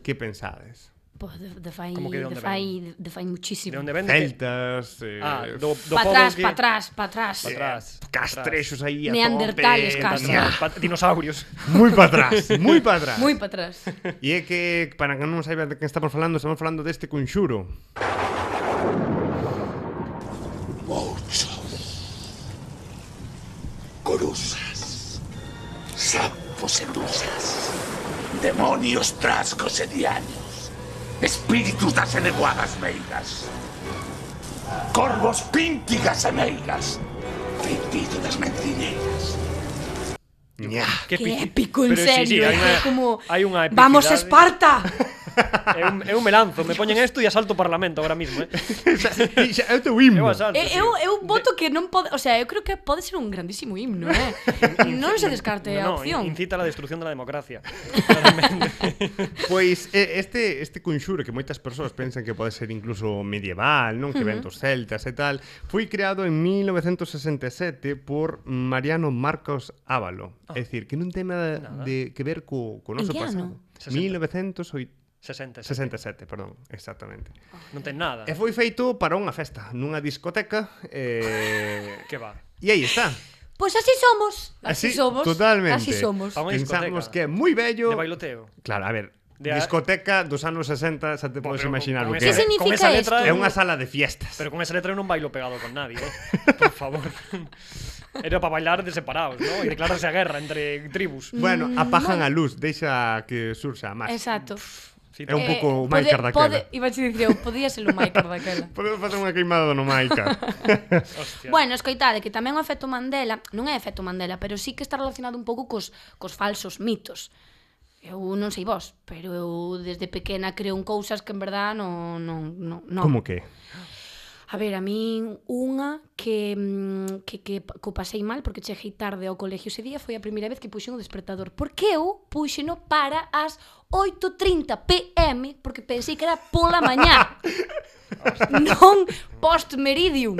[SPEAKER 1] que pensades?
[SPEAKER 2] Pois de, de fai,
[SPEAKER 3] Como que de
[SPEAKER 2] de,
[SPEAKER 3] onde
[SPEAKER 2] fai, de, fai muchísimo.
[SPEAKER 3] De onde vende?
[SPEAKER 1] Celtas, eh,
[SPEAKER 3] Ah, do, do
[SPEAKER 2] Pa
[SPEAKER 3] pobo
[SPEAKER 2] atrás,
[SPEAKER 3] que...
[SPEAKER 2] pa atrás, pa atrás.
[SPEAKER 3] Pa atrás.
[SPEAKER 1] castrexos aí a
[SPEAKER 2] Neandertales,
[SPEAKER 1] tope,
[SPEAKER 2] casi.
[SPEAKER 1] pa-
[SPEAKER 3] Ah, Pa- Dinosaurios.
[SPEAKER 1] Moi para atrás, moi para atrás.
[SPEAKER 2] Moi pa atrás.
[SPEAKER 1] E é que, para que non saiba de que estamos falando, estamos falando deste conxuro.
[SPEAKER 4] Mouchos. Corusas. Sapos endusas. Demonios trascos edianos. Espíritus das eneguadas meigas. Corvos píntigas e meigas. Feitizo das mentiñeiras.
[SPEAKER 1] Ñá.
[SPEAKER 2] Que épico, en
[SPEAKER 3] Pero sí, sí,
[SPEAKER 2] serio.
[SPEAKER 3] hai
[SPEAKER 2] é
[SPEAKER 3] unha-
[SPEAKER 2] como
[SPEAKER 3] hai unha
[SPEAKER 2] vamos
[SPEAKER 3] epicidade".
[SPEAKER 2] Esparta.
[SPEAKER 3] eu, eu me lanzo, me poñen isto e asalto o Parlamento agora mismo, eh?
[SPEAKER 1] xa, xa, é o teu himno.
[SPEAKER 3] Eu asalto.
[SPEAKER 2] Eu,
[SPEAKER 3] sí.
[SPEAKER 2] Eh, eu, eu voto que non pode, o sea, eu creo que pode ser un grandísimo himno, eh. non se descarte a
[SPEAKER 3] No, no,
[SPEAKER 2] opción.
[SPEAKER 3] incita a la destrucción de la democracia.
[SPEAKER 1] Pois eh, este este conxuro que moitas persoas pensan que pode ser incluso medieval, non que ven dos celtas e tal, foi creado en 1967 por Mariano Marcos Ávalo.
[SPEAKER 3] Ah.
[SPEAKER 1] É dicir, que non ten nada de que ver co, co noso
[SPEAKER 2] que
[SPEAKER 1] pasado.
[SPEAKER 2] ano?
[SPEAKER 3] 60.
[SPEAKER 1] 1967,
[SPEAKER 3] 60.
[SPEAKER 1] perdón, exactamente.
[SPEAKER 3] Non ten nada.
[SPEAKER 1] E foi feito para unha festa, nunha discoteca, eh,
[SPEAKER 3] Que va.
[SPEAKER 1] e aí está.
[SPEAKER 2] Pois así somos, así, somos.
[SPEAKER 1] totalmente.
[SPEAKER 2] Así somos.
[SPEAKER 3] Pa unha
[SPEAKER 1] Pensamos que é
[SPEAKER 3] discoteca.
[SPEAKER 1] moi bello.
[SPEAKER 3] De bailoteo.
[SPEAKER 1] Claro, a ver,
[SPEAKER 3] De-
[SPEAKER 1] discoteca dos anos 60, xa te podes
[SPEAKER 3] pero con-
[SPEAKER 1] imaginar o
[SPEAKER 3] con
[SPEAKER 1] que
[SPEAKER 2] ese-
[SPEAKER 1] era.
[SPEAKER 2] Que significa
[SPEAKER 3] con esa letra,
[SPEAKER 2] esto?
[SPEAKER 1] É unha sala de fiestas.
[SPEAKER 3] Pero con esa letra eu non bailo pegado con nadie, eh? Por favor. Era para bailar de separados, ¿no? E declararse a guerra entre tribus.
[SPEAKER 2] Mm.
[SPEAKER 1] Bueno, apajan a luz, deixa que surxa máis.
[SPEAKER 2] Exacto.
[SPEAKER 3] Sí,
[SPEAKER 1] Ah, É un
[SPEAKER 2] Eh,
[SPEAKER 1] pouco o Maicar daquela.
[SPEAKER 2] pode, iba a dicir eu, podía ser o Maicar daquela.
[SPEAKER 1] Podemos facer unha queimada no Maica.
[SPEAKER 3] hostia.
[SPEAKER 2] Bueno, escoitade, que tamén o efecto Mandela, non é efecto Mandela, pero sí que está relacionado un pouco cos, cos falsos mitos. Eu non sei vos, pero eu desde pequena creo en cousas que en verdad non... non, non, non.
[SPEAKER 1] Como que?
[SPEAKER 2] A ver, a min unha que, mm, que, que, que pasei mal porque cheguei tarde ao colegio ese día foi a primeira vez que puxen o despertador. Porque eu puxeno para as 8.30 pm porque pensei que era pola mañá. non post meridium.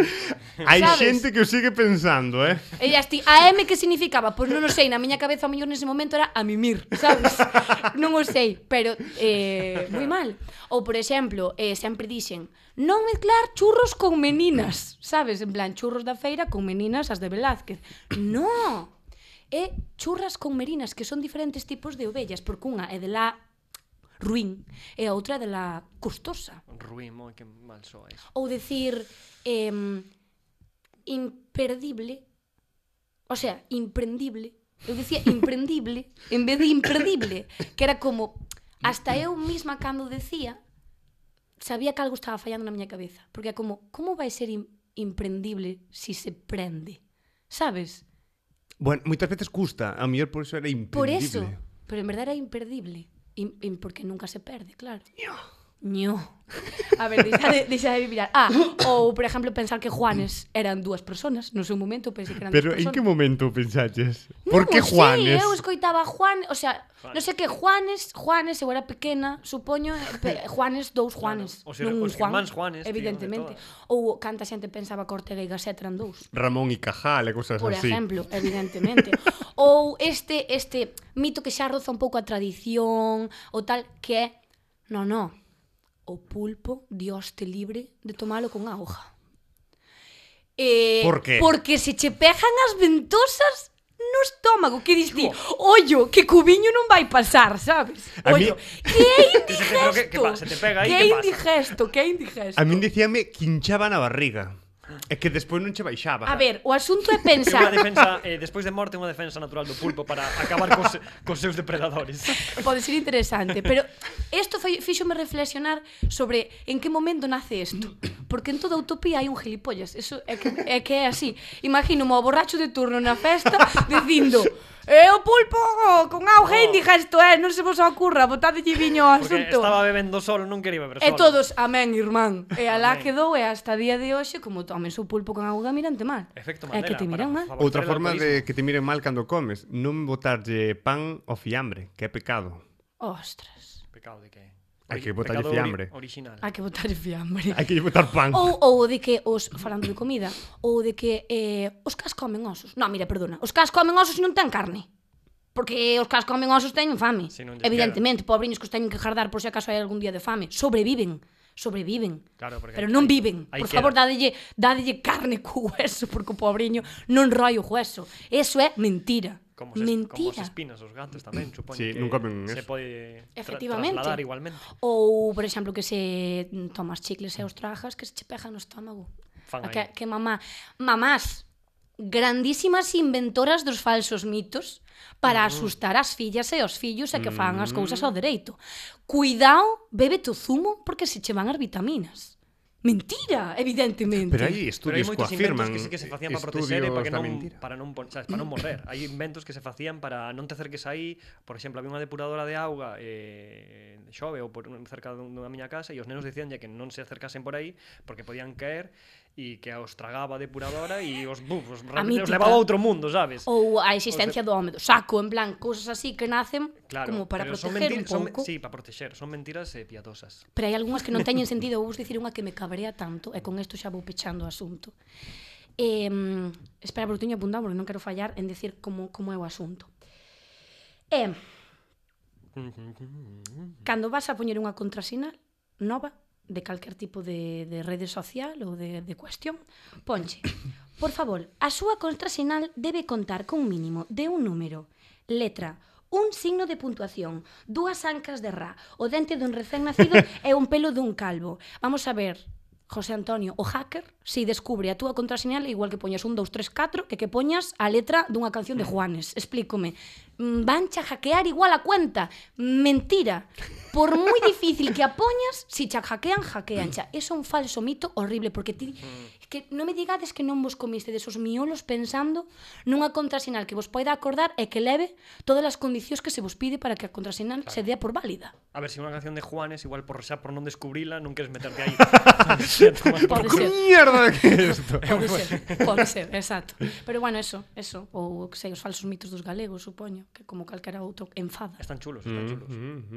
[SPEAKER 1] Hai
[SPEAKER 2] Sabes?
[SPEAKER 1] xente que o sigue pensando, eh?
[SPEAKER 2] E ya esti, AM que significaba? Pois non o sei, na miña cabeza o mellor nese momento era a mimir, sabes? non o sei, pero eh, moi mal. Ou, por exemplo, eh, sempre dixen non mezclar churros con meninas, sabes? En plan, churros da feira con meninas as de Velázquez. No! É churras con merinas, que son diferentes tipos de ovellas, porque unha é de la ruín e a outra é de la costosa
[SPEAKER 3] Ruim, moi que mal soa iso.
[SPEAKER 2] ou decir eh, imperdible, o sea, imprendible, eu dicía imprendible en vez de imperdible, que era como hasta eu misma cando decía sabía que algo estaba fallando na miña cabeza, porque é como como vai ser im imprendible si se prende? Sabes?
[SPEAKER 1] Bueno, moitas veces custa, a mellor por iso era imperdible.
[SPEAKER 2] Por eso, pero en verdad era imperdible, im im- porque nunca se perde, claro. Ño. A ver, deixa de, deixa de mirar. Ah, ou, por exemplo, pensar que Juanes eran dúas personas. No seu momento pensei que eran
[SPEAKER 1] Pero
[SPEAKER 2] dúas
[SPEAKER 1] en
[SPEAKER 2] personas.
[SPEAKER 1] que momento pensaches?
[SPEAKER 2] Non
[SPEAKER 1] Por que
[SPEAKER 2] o sei,
[SPEAKER 1] Juanes?
[SPEAKER 2] eu escoitaba Juan, o sea, non sei que Juanes, Juanes, eu era pequena, supoño, eh, pe- Juanes, dous Juanes,
[SPEAKER 3] Claro, os her-
[SPEAKER 2] non un
[SPEAKER 3] os
[SPEAKER 2] Juan,
[SPEAKER 3] irmáns Juanes, tío, de
[SPEAKER 2] evidentemente.
[SPEAKER 3] todas.
[SPEAKER 2] Ou canta xente pensaba que Ortega e Gasset eran dous.
[SPEAKER 1] Ramón y Cajal e cosas
[SPEAKER 2] Por
[SPEAKER 1] así.
[SPEAKER 2] exemplo, evidentemente. ou este este mito que xa roza un pouco a tradición ou tal que é no, no. O pulpo Dios te libre de tomalo con a hoja. Eh,
[SPEAKER 1] Por qué?
[SPEAKER 2] Porque se che pejan as ventosas no estómago, que dis ti, ollo, que cubiño non vai pasar, sabes?
[SPEAKER 1] A mí-
[SPEAKER 2] Ollo, que é
[SPEAKER 3] se te- pero
[SPEAKER 2] indigesto.
[SPEAKER 3] que- que pa- se te pega aí,
[SPEAKER 2] que
[SPEAKER 3] que
[SPEAKER 2] é
[SPEAKER 3] pasa?
[SPEAKER 2] indigesto, que é indigesto.
[SPEAKER 1] A min dicíame que hinchaba na barriga. É que despois non che baixaba.
[SPEAKER 2] A ver, o asunto
[SPEAKER 3] É
[SPEAKER 2] é
[SPEAKER 3] unha
[SPEAKER 2] pensar
[SPEAKER 3] defensa, eh, despois de morte, unha defensa natural do pulpo para acabar cos, cos seus depredadores.
[SPEAKER 2] pode ser interesante, pero isto foi fíxome reflexionar sobre en que momento nace isto, porque en toda utopía hai un gilipollas, eso é que é que é así. Imagino o borracho de turno na festa dicindo É o pulpo con auge indigesto, eh? Non se vos ocurra, botadelle viño
[SPEAKER 3] Oh.
[SPEAKER 2] ao
[SPEAKER 3] Porque
[SPEAKER 2] asunto.
[SPEAKER 3] estaba bebendo solo, non quería beber solo.
[SPEAKER 2] E todos, amén, irmán. E alá quedou e hasta día de hoxe, como tomen o pulpo con auga, mirante mal.
[SPEAKER 3] Efecto
[SPEAKER 2] É
[SPEAKER 3] Mandela.
[SPEAKER 2] que te miran
[SPEAKER 3] para
[SPEAKER 2] mal.
[SPEAKER 3] favorecer
[SPEAKER 1] Outra
[SPEAKER 3] el
[SPEAKER 1] forma
[SPEAKER 3] alcoholismo.
[SPEAKER 1] de que te miren mal cando comes, non botarlle pan ao fiambre, que é pecado.
[SPEAKER 2] Ostras,
[SPEAKER 3] Pecado de que...
[SPEAKER 1] Hai
[SPEAKER 3] Ori-
[SPEAKER 1] que botarlle
[SPEAKER 3] pecado ori-
[SPEAKER 1] fiambre.
[SPEAKER 3] Original.
[SPEAKER 2] hai que botar fiambre.
[SPEAKER 1] Hai que lle botar pan.
[SPEAKER 2] Ou, ou de que os falando de comida, ou de que eh, os cas comen osos. Non, mira, perdona, os cas comen osos e non ten carne. Porque os cas comen osos teñen fame.
[SPEAKER 3] Si non lles
[SPEAKER 2] Evidentemente, pobriños que os teñen que jardar por se acaso hai algún día de fame. Sobreviven, sobreviven.
[SPEAKER 3] Claro, porque
[SPEAKER 2] Pero
[SPEAKER 3] aí-
[SPEAKER 2] non viven.
[SPEAKER 3] aí
[SPEAKER 2] por
[SPEAKER 3] queda.
[SPEAKER 2] favor, dadelle, dadelle carne co hueso, porque o pobriño non roi o hueso. Eso é mentira.
[SPEAKER 3] Como se, Como as
[SPEAKER 2] mentira.
[SPEAKER 3] espinas, os gatos tamén, supoño
[SPEAKER 1] Sí,
[SPEAKER 3] que
[SPEAKER 1] non comen
[SPEAKER 3] se
[SPEAKER 1] eso.
[SPEAKER 3] pode tra
[SPEAKER 2] Efectivamente.
[SPEAKER 3] trasladar igualmente.
[SPEAKER 2] Ou, por exemplo, que se mm, tomas chicles e os trajas que se che pejan no estómago.
[SPEAKER 3] Fan
[SPEAKER 2] A que,
[SPEAKER 3] aí.
[SPEAKER 2] que mamá, mamás, grandísimas inventoras dos falsos mitos para
[SPEAKER 3] Mm.
[SPEAKER 2] asustar as fillas e os fillos e que fan as cousas ao dereito. Cuidao, bebe o zumo porque se che van as vitaminas. Mentira, evidentemente.
[SPEAKER 1] Pero hai
[SPEAKER 3] Pero hai
[SPEAKER 1] estudios que
[SPEAKER 3] moitos inventos
[SPEAKER 1] afirman
[SPEAKER 3] que sí que se facían para proteger e
[SPEAKER 1] estudios
[SPEAKER 3] para que
[SPEAKER 1] da
[SPEAKER 3] non
[SPEAKER 1] mentira.
[SPEAKER 3] para non, pon- sabes, para non morrer. Hai inventos que se facían para non te acerques aí, por exemplo, había unha depuradora de auga eh xove ou por cerca dun- dunha miña casa e os nenos dicíanlle que non se acercasen por aí porque podían caer e que os tragaba a depuradora e os buf, os,
[SPEAKER 2] A
[SPEAKER 3] realmente os
[SPEAKER 2] mítica.
[SPEAKER 3] levaba a outro mundo, sabes?
[SPEAKER 2] Ou a existencia do home do saco, en plan, cousas así que nacen
[SPEAKER 3] Claro,
[SPEAKER 2] como para
[SPEAKER 3] pero son
[SPEAKER 2] proteger un
[SPEAKER 3] mentir- son-
[SPEAKER 2] pouco.
[SPEAKER 3] sí, para proteger, son mentiras eh, piadosas.
[SPEAKER 2] Pero hai algunhas que non teñen sentido. Vou vos dicir unha que me cabrea tanto, e con isto xa vou pechando o asunto. Eh, espera, porque teño apuntado, porque non quero fallar en decir como, como é o asunto. Eh, cando vas a poñer unha contrasinal nova de calquer tipo de, de rede social ou de, de cuestión, ponche, por favor, a súa contrasinal debe contar con un mínimo de un número, letra, un signo de puntuación, dúas ancas de ra, o dente dun recén nacido e un pelo dun calvo. Vamos a ver, José Antonio, o hacker, si descubre a túa contrasinal igual que poñas un 2, 3, 4, que que poñas a letra dunha canción de Juanes. Explícome. Mm, Vancha hackear igual a cuenta. Mentira. Por moi difícil que a poñas, si cha hackean, hackean cha. Eso é un falso mito horrible, porque ti...
[SPEAKER 1] Mm.
[SPEAKER 2] é Que non me digades que non vos comiste desos miolos pensando nunha contrasinal que vos poida acordar e que leve todas as condicións que se vos pide para que a contrasinal se dea por válida.
[SPEAKER 3] A ver, se si unha canción de Juanes, igual por xa por non descubrila, non queres meterte aí.
[SPEAKER 2] Pode
[SPEAKER 1] Que
[SPEAKER 2] ser.
[SPEAKER 1] mierda de que é isto?
[SPEAKER 2] Pode ser, pode ser, exacto. Pero bueno, eso, eso. Ou, que sei, os falsos mitos dos galegos, supoño, que como calquera outro enfada.
[SPEAKER 3] Ah, Están chulos,
[SPEAKER 1] Mm-hmm,
[SPEAKER 3] están chulos.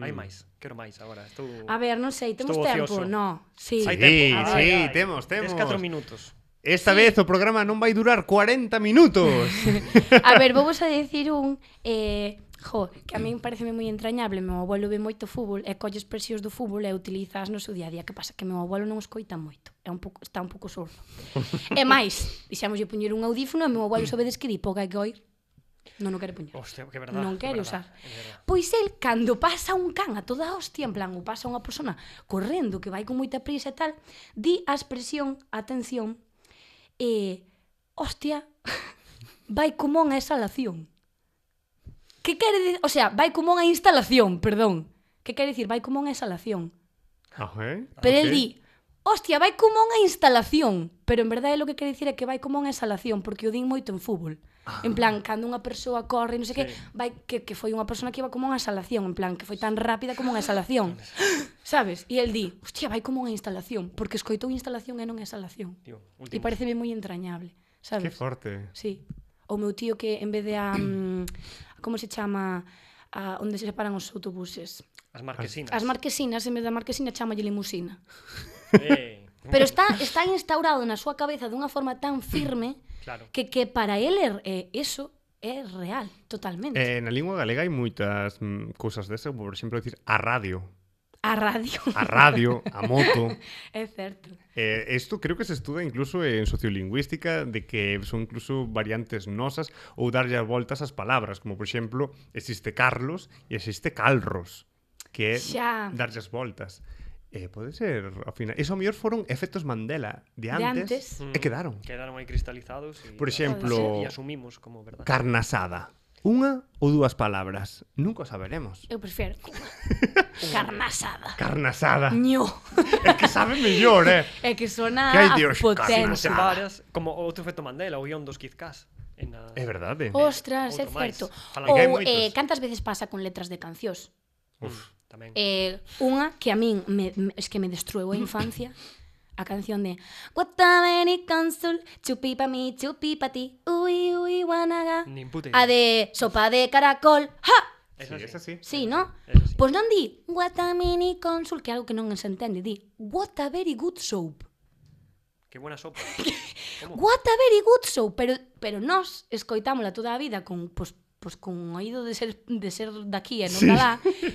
[SPEAKER 3] Hai máis, quero máis agora. Estou
[SPEAKER 2] A ver, non sei, temos
[SPEAKER 3] Estou
[SPEAKER 2] tempo,
[SPEAKER 3] ocioso.
[SPEAKER 2] no. Sí.
[SPEAKER 1] Hai
[SPEAKER 3] Hai
[SPEAKER 1] tempo.
[SPEAKER 3] tempo.
[SPEAKER 1] sí,
[SPEAKER 3] Ai, ai.
[SPEAKER 1] temos,
[SPEAKER 3] Tens
[SPEAKER 1] temos.
[SPEAKER 3] 4 minutos.
[SPEAKER 1] Esta vez o programa non vai durar 40 minutos.
[SPEAKER 2] A ver, vou vos a decir un eh, Jo, que a min pareceme moi entrañable Meu abuelo ve moito fútbol E colles presións do fútbol e utilizas no seu día a día Que pasa que meu abuelo non escoita moito é un pouco, Está un pouco sordo E máis, dixemos poñer un audífono E meu abuelo sobedes que di poca que oír Non o quere poñer
[SPEAKER 3] Hostia, que verdad.
[SPEAKER 2] non quere
[SPEAKER 3] é verdad,
[SPEAKER 2] usar.
[SPEAKER 3] é verdad.
[SPEAKER 2] Pois el, cando pasa un can a toda hostia, en plan, ou pasa unha persona correndo que vai con moita prisa e tal, di a expresión, atención, e, hostia, vai común a exhalación. Que quere dicir? O sea, vai común a instalación, perdón. Que quere dicir? Vai común a exhalación.
[SPEAKER 1] Ah, eh?
[SPEAKER 2] Pero
[SPEAKER 1] Ok.
[SPEAKER 2] el di, hostia, vai como unha instalación. Pero en verdade lo que quere dicir é que vai como unha instalación, porque o din moito en fútbol.
[SPEAKER 1] Ah.
[SPEAKER 2] En plan, cando unha persoa corre, non sei que, vai que, que foi unha persona que iba como unha instalación, en plan, que foi tan rápida como unha instalación. Sabes? E el di, hostia, vai como unha instalación, porque escoitou instalación e non instalación.
[SPEAKER 3] Tío,
[SPEAKER 2] E
[SPEAKER 3] últimos.
[SPEAKER 2] pareceme moi entrañable,
[SPEAKER 1] Que
[SPEAKER 2] sabes?
[SPEAKER 1] forte.
[SPEAKER 2] Sí. O meu tío que en vez de a... mm, como se chama... A, onde se separan os autobuses.
[SPEAKER 3] As marquesinas.
[SPEAKER 2] As marquesinas, en vez da marquesina, chamalle limusina.
[SPEAKER 3] Eh,
[SPEAKER 2] Pero está está instaurado na súa cabeza dunha forma tan firme
[SPEAKER 3] Claro.
[SPEAKER 2] que que para el er, eh, eso é real, totalmente.
[SPEAKER 1] Eh,
[SPEAKER 2] Eh,
[SPEAKER 1] na lingua galega hai moitas mm, cousas desa, como por exemplo dicir a radio,
[SPEAKER 2] a radio.
[SPEAKER 1] a radio, a moto.
[SPEAKER 2] é certo.
[SPEAKER 1] Eh, esto creo que se estuda incluso en sociolingüística de que son incluso variantes nosas ou darlle as voltas ás palabras, como por exemplo, existe Carlos e existe Calros, que é
[SPEAKER 2] Xa.
[SPEAKER 1] darlle as voltas. Eh, pode ser, ao final, eso mellor foron efectos Mandela de
[SPEAKER 2] De
[SPEAKER 1] antes,
[SPEAKER 2] antes.
[SPEAKER 1] e quedaron.
[SPEAKER 3] Quedaron aí cristalizados. y-
[SPEAKER 1] Por exemplo,
[SPEAKER 3] Y asumimos como verdad.
[SPEAKER 1] carne asada. Unha ou dúas palabras, nunca o saberemos.
[SPEAKER 2] Eu prefiero carnasada.
[SPEAKER 1] Carne asada.
[SPEAKER 2] Ño.
[SPEAKER 1] É que sabe mellor, eh.
[SPEAKER 2] É que sona
[SPEAKER 1] Que hai Dios,
[SPEAKER 3] Como
[SPEAKER 2] potente.
[SPEAKER 1] carnasada.
[SPEAKER 3] separas, como outro efecto Mandela, o guión dos Kizkas. En a...
[SPEAKER 1] É verdade.
[SPEAKER 2] Oh. Ostras, é
[SPEAKER 3] Outro máis.
[SPEAKER 2] certo.
[SPEAKER 3] Falando que hai
[SPEAKER 2] Ou
[SPEAKER 1] moitos.
[SPEAKER 2] eh, cantas veces pasa con letras de cancións?
[SPEAKER 1] Oh.
[SPEAKER 3] Uf, tamén.
[SPEAKER 2] Eh, unha que a min me, me, es que me destrueu a infancia a canción de Guatameni Consul, chupi pa mi, chupi pa ti, ui ui guanaga.
[SPEAKER 3] Nin puta idea.
[SPEAKER 2] A de sopa de caracol, ha!
[SPEAKER 1] Sí, es así.
[SPEAKER 2] Sí, no?
[SPEAKER 3] Eso sí.
[SPEAKER 2] Pois non di Guatameni Consul, que é algo que non se entende, di What a very good soap.
[SPEAKER 3] Que buena sopa. Como?
[SPEAKER 2] What a very good show, pero pero nós escoitámola toda a vida con pos pois con oído de ser de ser daqui e non da lá,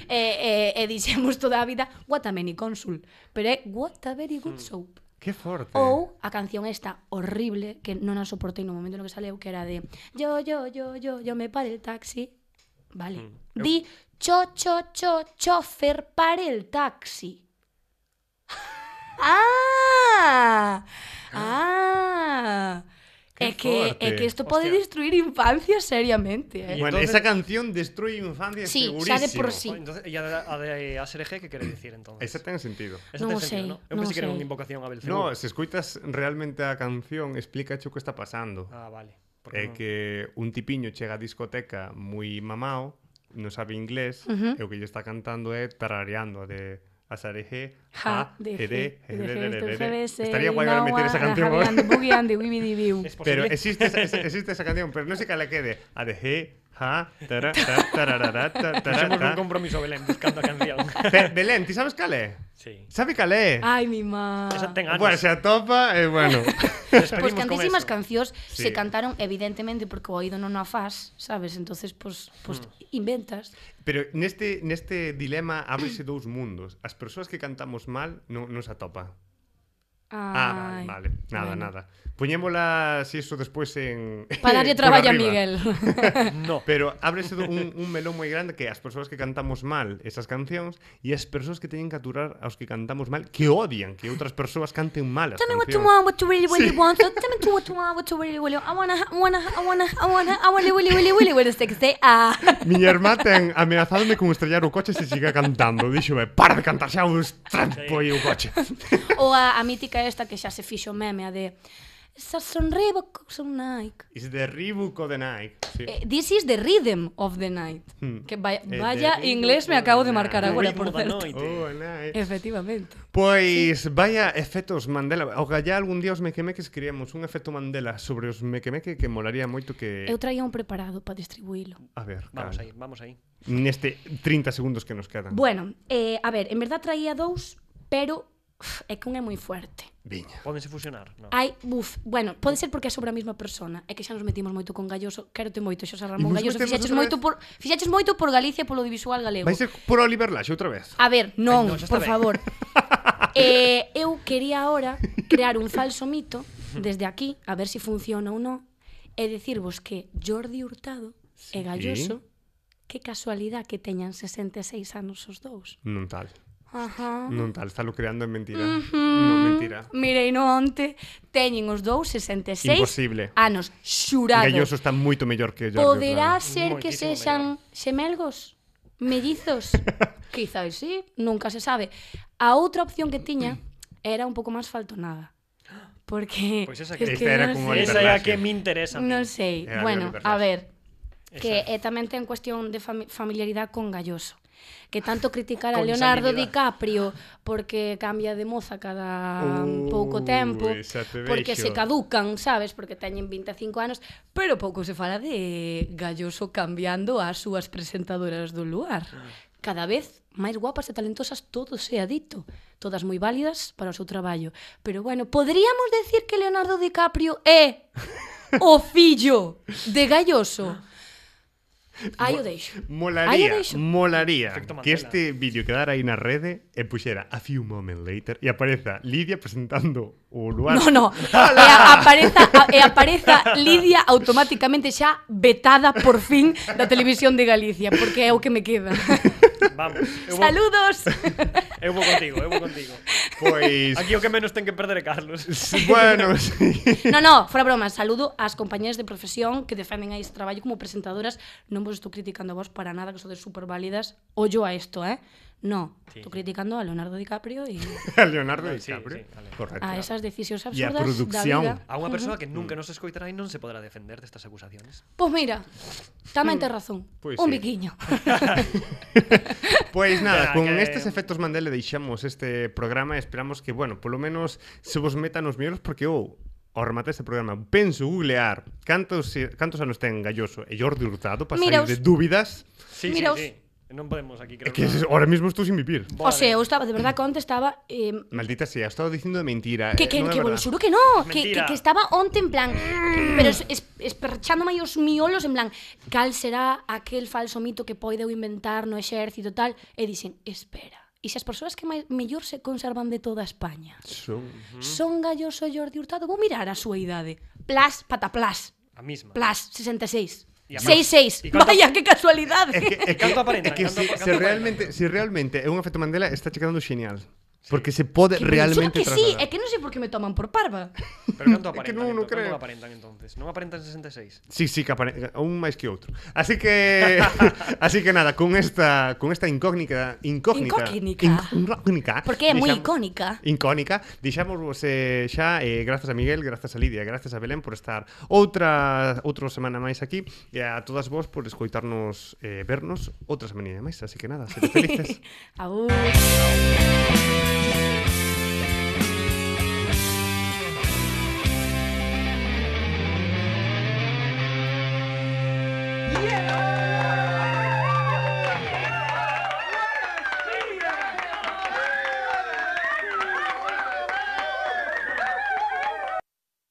[SPEAKER 2] e, e, e dixemos toda a vida What a many consul, pero é What a very good show.
[SPEAKER 1] Que forte.
[SPEAKER 2] Ou a canción esta horrible que non a soportei no momento no que saleu que era de yo yo yo yo yo me pare el taxi. Vale.
[SPEAKER 1] Mm,
[SPEAKER 2] Di cho cho cho chofer pare el taxi. Ah! Ah!
[SPEAKER 1] Qué
[SPEAKER 2] é que é
[SPEAKER 1] forte.
[SPEAKER 2] que isto pode
[SPEAKER 3] Hostia.
[SPEAKER 2] destruir infancia seriamente, eh.
[SPEAKER 3] Y
[SPEAKER 1] Bueno,
[SPEAKER 3] entonces-
[SPEAKER 1] esa canción destruye infancia
[SPEAKER 2] Sí,
[SPEAKER 1] segurísimo.
[SPEAKER 2] xa de por sí.
[SPEAKER 3] Joder, Entonces, ¿y a, a, de ASRG qué queréis decir entonces?
[SPEAKER 1] Esa ten sentido.
[SPEAKER 3] Esa ten
[SPEAKER 2] Non o
[SPEAKER 3] sentido,
[SPEAKER 2] sei,
[SPEAKER 3] ¿no? Eu
[SPEAKER 2] non
[SPEAKER 3] pensei que
[SPEAKER 2] o
[SPEAKER 3] era
[SPEAKER 2] sei.
[SPEAKER 3] unha invocación a Belcebú.
[SPEAKER 1] No, se escuchas realmente a canción, explica o que está pasando.
[SPEAKER 3] Ah, vale. Porque
[SPEAKER 1] É
[SPEAKER 3] non-
[SPEAKER 1] eh, que un tipiño chega á discoteca moi mamao, non sabe inglés,
[SPEAKER 2] Ujú.
[SPEAKER 1] e o que lle está cantando é tarareando a de a Sarege,
[SPEAKER 2] Ja,
[SPEAKER 1] a,
[SPEAKER 2] de
[SPEAKER 1] e de,
[SPEAKER 2] G,
[SPEAKER 1] e
[SPEAKER 2] de
[SPEAKER 1] de,
[SPEAKER 2] G,
[SPEAKER 1] de, de,
[SPEAKER 2] esto eh,
[SPEAKER 1] de, de.
[SPEAKER 2] se ve,
[SPEAKER 1] Estaría
[SPEAKER 2] se
[SPEAKER 1] guai ahora
[SPEAKER 2] ve,
[SPEAKER 1] meter esa
[SPEAKER 2] guau,
[SPEAKER 1] canción.
[SPEAKER 2] javi, ande, boogie, ande, wibi, di, biu.
[SPEAKER 3] Es posible.
[SPEAKER 1] Pero existe esa, esa- existe esa canción, pero non sei cale quede. A de G, ja, tara, ta, tararara, ta,
[SPEAKER 3] Fixemos un
[SPEAKER 1] tarara.
[SPEAKER 3] compromiso, Belén, buscando a canción.
[SPEAKER 1] Pe- Belén, ti sabes cale?
[SPEAKER 3] sí.
[SPEAKER 1] Sabe cale?
[SPEAKER 2] Ai, mi má.
[SPEAKER 3] Esa ten anos.
[SPEAKER 1] Bueno, se atopa, e bueno.
[SPEAKER 2] Pois
[SPEAKER 3] Despedimos con
[SPEAKER 2] cantísimas
[SPEAKER 3] eso.
[SPEAKER 2] cancións
[SPEAKER 1] Sí.
[SPEAKER 2] se cantaron evidentemente porque o oído non a faz, sabes? Entonces, pois, pois
[SPEAKER 1] Mm.
[SPEAKER 2] inventas.
[SPEAKER 1] Pero neste, neste dilema ábrese dous mundos. As persoas que cantamos mal non, non se atopa. Ah, vale,
[SPEAKER 2] Ai.
[SPEAKER 1] vale. Nada,
[SPEAKER 2] Bueno.
[SPEAKER 1] nada. Poñémola si eso despois en
[SPEAKER 2] Para darlle
[SPEAKER 1] por
[SPEAKER 2] traballo a
[SPEAKER 1] arriba.
[SPEAKER 2] Miguel.
[SPEAKER 3] No.
[SPEAKER 1] Pero ábrese do- un, un melón moi grande que as persoas que cantamos mal esas cancións e as persoas que teñen que aturar aos que cantamos mal que odian que outras persoas canten mal as
[SPEAKER 2] Tell me what you
[SPEAKER 1] cancións.
[SPEAKER 2] want, what you really, really want. So tell me to what you want, what you really, really want. I wanna, I wanna, I wanna, I wanna, I wanna, really, really, really, really, stick, say, ah.
[SPEAKER 1] Miña irmá ten amenazadome con estrellar o coche se siga cantando. Díxome, para de cantar xa un trampo e o coche.
[SPEAKER 2] Ou a, a mítica esta que xa se fixo meme, a de... Esa sonriba son Nike.
[SPEAKER 1] Is the Reebok o the Nike. Sí.
[SPEAKER 2] Eh, This is the rhythm of the night.
[SPEAKER 1] Hmm.
[SPEAKER 2] Que vaya,
[SPEAKER 1] the
[SPEAKER 2] vaya
[SPEAKER 1] rhythm
[SPEAKER 2] inglés me
[SPEAKER 1] of the
[SPEAKER 2] acabo de
[SPEAKER 1] night.
[SPEAKER 2] marcar agora, por
[SPEAKER 3] Ritmo da
[SPEAKER 2] certo.
[SPEAKER 3] noite.
[SPEAKER 1] Oh, Nike.
[SPEAKER 2] eh, Efectivamente.
[SPEAKER 1] Pois vaya efectos Mandela Ogallá algún día os mequemeques queríamos un efecto Mandela sobre os mequemeque que molaría moito que
[SPEAKER 2] Eu traía un preparado para distribuílo.
[SPEAKER 1] A ver,
[SPEAKER 3] Vamos
[SPEAKER 1] cal.
[SPEAKER 3] aí, vamos aí.
[SPEAKER 1] Neste 30 segundos que nos quedan
[SPEAKER 2] Bueno, eh, a ver, en verdad traía dous, pero uf, é que un é moi fuerte.
[SPEAKER 1] Viña
[SPEAKER 3] Pódense fusionar, no.
[SPEAKER 2] Hai, buf, bueno, pode ser porque é sobre a mesma persona, é que xa nos metimos moito con Galloso, quérote moito, Xosé Ramón
[SPEAKER 1] Imos
[SPEAKER 2] Galloso,
[SPEAKER 1] meternos
[SPEAKER 2] fixaches
[SPEAKER 1] outra
[SPEAKER 2] moito por fixaches moito por Galicia e polo audiovisual galego.
[SPEAKER 1] Vai ser por Oliver Lash outra vez
[SPEAKER 2] A ver, non,
[SPEAKER 3] Ai, non, xa está
[SPEAKER 2] por
[SPEAKER 3] ben.
[SPEAKER 2] favor. eh, eu quería ahora crear un falso mito desde aquí, a ver se si funciona ou non, e dicirvos que Jordi Hurtado sí. e Galloso, que casualidade que teñan 66 anos os dous.
[SPEAKER 1] Non tal
[SPEAKER 2] Ajá.
[SPEAKER 1] Non tal, está lo creando en mentira Non mentira
[SPEAKER 2] Mirei no onte, teñen os dous 66
[SPEAKER 1] Imposible.
[SPEAKER 2] anos, xurado.
[SPEAKER 1] Galloso está moito mellor que Jordi
[SPEAKER 2] Poderá
[SPEAKER 1] Hurtado.
[SPEAKER 2] ser que
[SPEAKER 3] Moitísimo
[SPEAKER 2] sexan xemelgos, mellizos. Quizás sí, nunca se sabe. A outra opción que tiña era un pouco máis faltonada. Porque
[SPEAKER 3] Pois esa que-
[SPEAKER 1] Pues Esta era
[SPEAKER 2] non
[SPEAKER 1] como
[SPEAKER 2] sei.
[SPEAKER 1] Oliver
[SPEAKER 3] Esa é a
[SPEAKER 1] Lash.
[SPEAKER 3] que me interesa. a mí.
[SPEAKER 2] Non sei.
[SPEAKER 1] Era de
[SPEAKER 2] bueno,
[SPEAKER 1] Oliver
[SPEAKER 2] a
[SPEAKER 1] Lash.
[SPEAKER 2] ver, que eh, tamén ten cuestión de fami familiaridade con Galloso que tanto criticar a
[SPEAKER 3] Con
[SPEAKER 2] Leonardo
[SPEAKER 3] sanidade.
[SPEAKER 2] DiCaprio porque cambia de moza cada
[SPEAKER 1] Uy,
[SPEAKER 2] pouco tempo,
[SPEAKER 1] xa Uh, te
[SPEAKER 2] porque
[SPEAKER 1] vexo.
[SPEAKER 2] se caducan, sabes, porque teñen 25 anos, pero pouco se fala de Galloso cambiando as súas presentadoras do lugar. Cada vez máis guapas e talentosas todo se ha dito, todas moi válidas para o seu traballo. Pero bueno, poderíamos decir que Leonardo DiCaprio é o fillo de Galloso. Aí o deixo. Aí
[SPEAKER 1] Molaría,
[SPEAKER 2] o deixo.
[SPEAKER 1] molaría
[SPEAKER 3] Efecto
[SPEAKER 1] que
[SPEAKER 3] Mandela.
[SPEAKER 1] este vídeo quedara aí na rede e puxera eh, a few moments later e apareza Lidia presentando o lugar.
[SPEAKER 2] No, no. E a- apareza, a- e apareza Lidia automáticamente xa vetada por fin da televisión de Galicia, porque é o que me queda.
[SPEAKER 3] Vamos. Eu vou,
[SPEAKER 2] Saludos.
[SPEAKER 3] eu vou contigo, eu vou contigo.
[SPEAKER 1] Pois
[SPEAKER 3] Aquí o que menos ten que perder é Carlos.
[SPEAKER 1] bueno, sí.
[SPEAKER 2] No, no, fora broma, saludo ás compañeras de profesión que defenden a este traballo como presentadoras. Non vos estou criticando a vos para nada, que sodes super válidas. Ollo a isto, eh? No,
[SPEAKER 3] Sí.
[SPEAKER 2] estou criticando a Leonardo DiCaprio e
[SPEAKER 1] A Leonardo
[SPEAKER 3] Sí,
[SPEAKER 1] DiCaprio.
[SPEAKER 3] sí, vale.
[SPEAKER 1] Correcto.
[SPEAKER 2] a esas decisións
[SPEAKER 1] E a
[SPEAKER 2] absurdas da
[SPEAKER 1] producción.
[SPEAKER 2] vida.
[SPEAKER 3] A unha persoa
[SPEAKER 1] Mm.
[SPEAKER 3] que nunca nos escoitará e non se poderá defender destas acusacións.
[SPEAKER 2] Pois mira, tamén tes razón.
[SPEAKER 1] Pois
[SPEAKER 2] Un
[SPEAKER 1] sí.
[SPEAKER 2] biquiño.
[SPEAKER 1] Pois nada,
[SPEAKER 3] Espera,
[SPEAKER 1] con
[SPEAKER 3] que-
[SPEAKER 1] estes efectos Mandela deixamos este programa e esperamos que, bueno, polo menos se vos metan os mellores porque eu ao rematar este programa penso googlear cantos eh, cantos anos ten Galloso e Jordi Hurtado para sair
[SPEAKER 2] Miraos.
[SPEAKER 1] de dúbidas
[SPEAKER 3] Sí,
[SPEAKER 2] Miraos.
[SPEAKER 3] sí, sí. Non podemos
[SPEAKER 1] e
[SPEAKER 3] aquí crear.
[SPEAKER 1] que
[SPEAKER 3] unha-
[SPEAKER 1] ahora mismo estou sin vivir.
[SPEAKER 2] O sea, eu estaba, de verdade, onte estaba eh,
[SPEAKER 1] Maldita sea, estaba dicindo de mentira. eh,
[SPEAKER 2] Que, que,
[SPEAKER 1] non é
[SPEAKER 2] que bueno,
[SPEAKER 1] verdad.
[SPEAKER 2] xuro que no, que, que,
[SPEAKER 3] Mentira.
[SPEAKER 2] que estaba onte en plan, pero es, es, esperchándome aí os miolos en plan, cal será aquel falso mito que poideu inventar no exército tal, e dixen, espera, e se as persoas que máis mellor se conservan de toda España
[SPEAKER 1] Son-
[SPEAKER 2] son Galloso e Jordi Hurtado, vou mirar a súa idade, plas, pataplas,
[SPEAKER 3] A misma.
[SPEAKER 2] plas, 66,
[SPEAKER 3] E a máis. E
[SPEAKER 2] 66,
[SPEAKER 3] cuánto-
[SPEAKER 2] vaya que casualidade.
[SPEAKER 1] É que, é que,
[SPEAKER 3] Canto aparenta,
[SPEAKER 1] é que
[SPEAKER 3] canto-
[SPEAKER 1] se,
[SPEAKER 3] canto
[SPEAKER 1] se
[SPEAKER 3] aparenta.
[SPEAKER 1] realmente, se realmente é un efecto Mandela está che quedando genial. Porque se pode
[SPEAKER 2] Que
[SPEAKER 1] realmente
[SPEAKER 2] que sí,
[SPEAKER 1] trasladar.
[SPEAKER 2] é que non sei por que me toman por parva.
[SPEAKER 3] Pero
[SPEAKER 1] É
[SPEAKER 3] canto
[SPEAKER 1] que
[SPEAKER 3] aparentan?
[SPEAKER 1] non, non
[SPEAKER 3] entón? Canto
[SPEAKER 1] creo.
[SPEAKER 3] aparentan entonces? Non aparentan 66?
[SPEAKER 1] Sí, sí, que apare- un máis que outro. Así que así que nada, con esta con esta incógnita, incógnita,
[SPEAKER 2] Incógnita.
[SPEAKER 1] incógnita.
[SPEAKER 2] Porque é moi
[SPEAKER 1] deixamos-
[SPEAKER 2] icónica.
[SPEAKER 1] Incónica, deixamos vos eh, xa eh, grazas a Miguel, grazas a Lidia, grazas a Belén por estar outra outra semana máis aquí e a todas vos por escoitarnos eh, vernos outra semana máis, así que nada, sede felices.
[SPEAKER 2] Agur.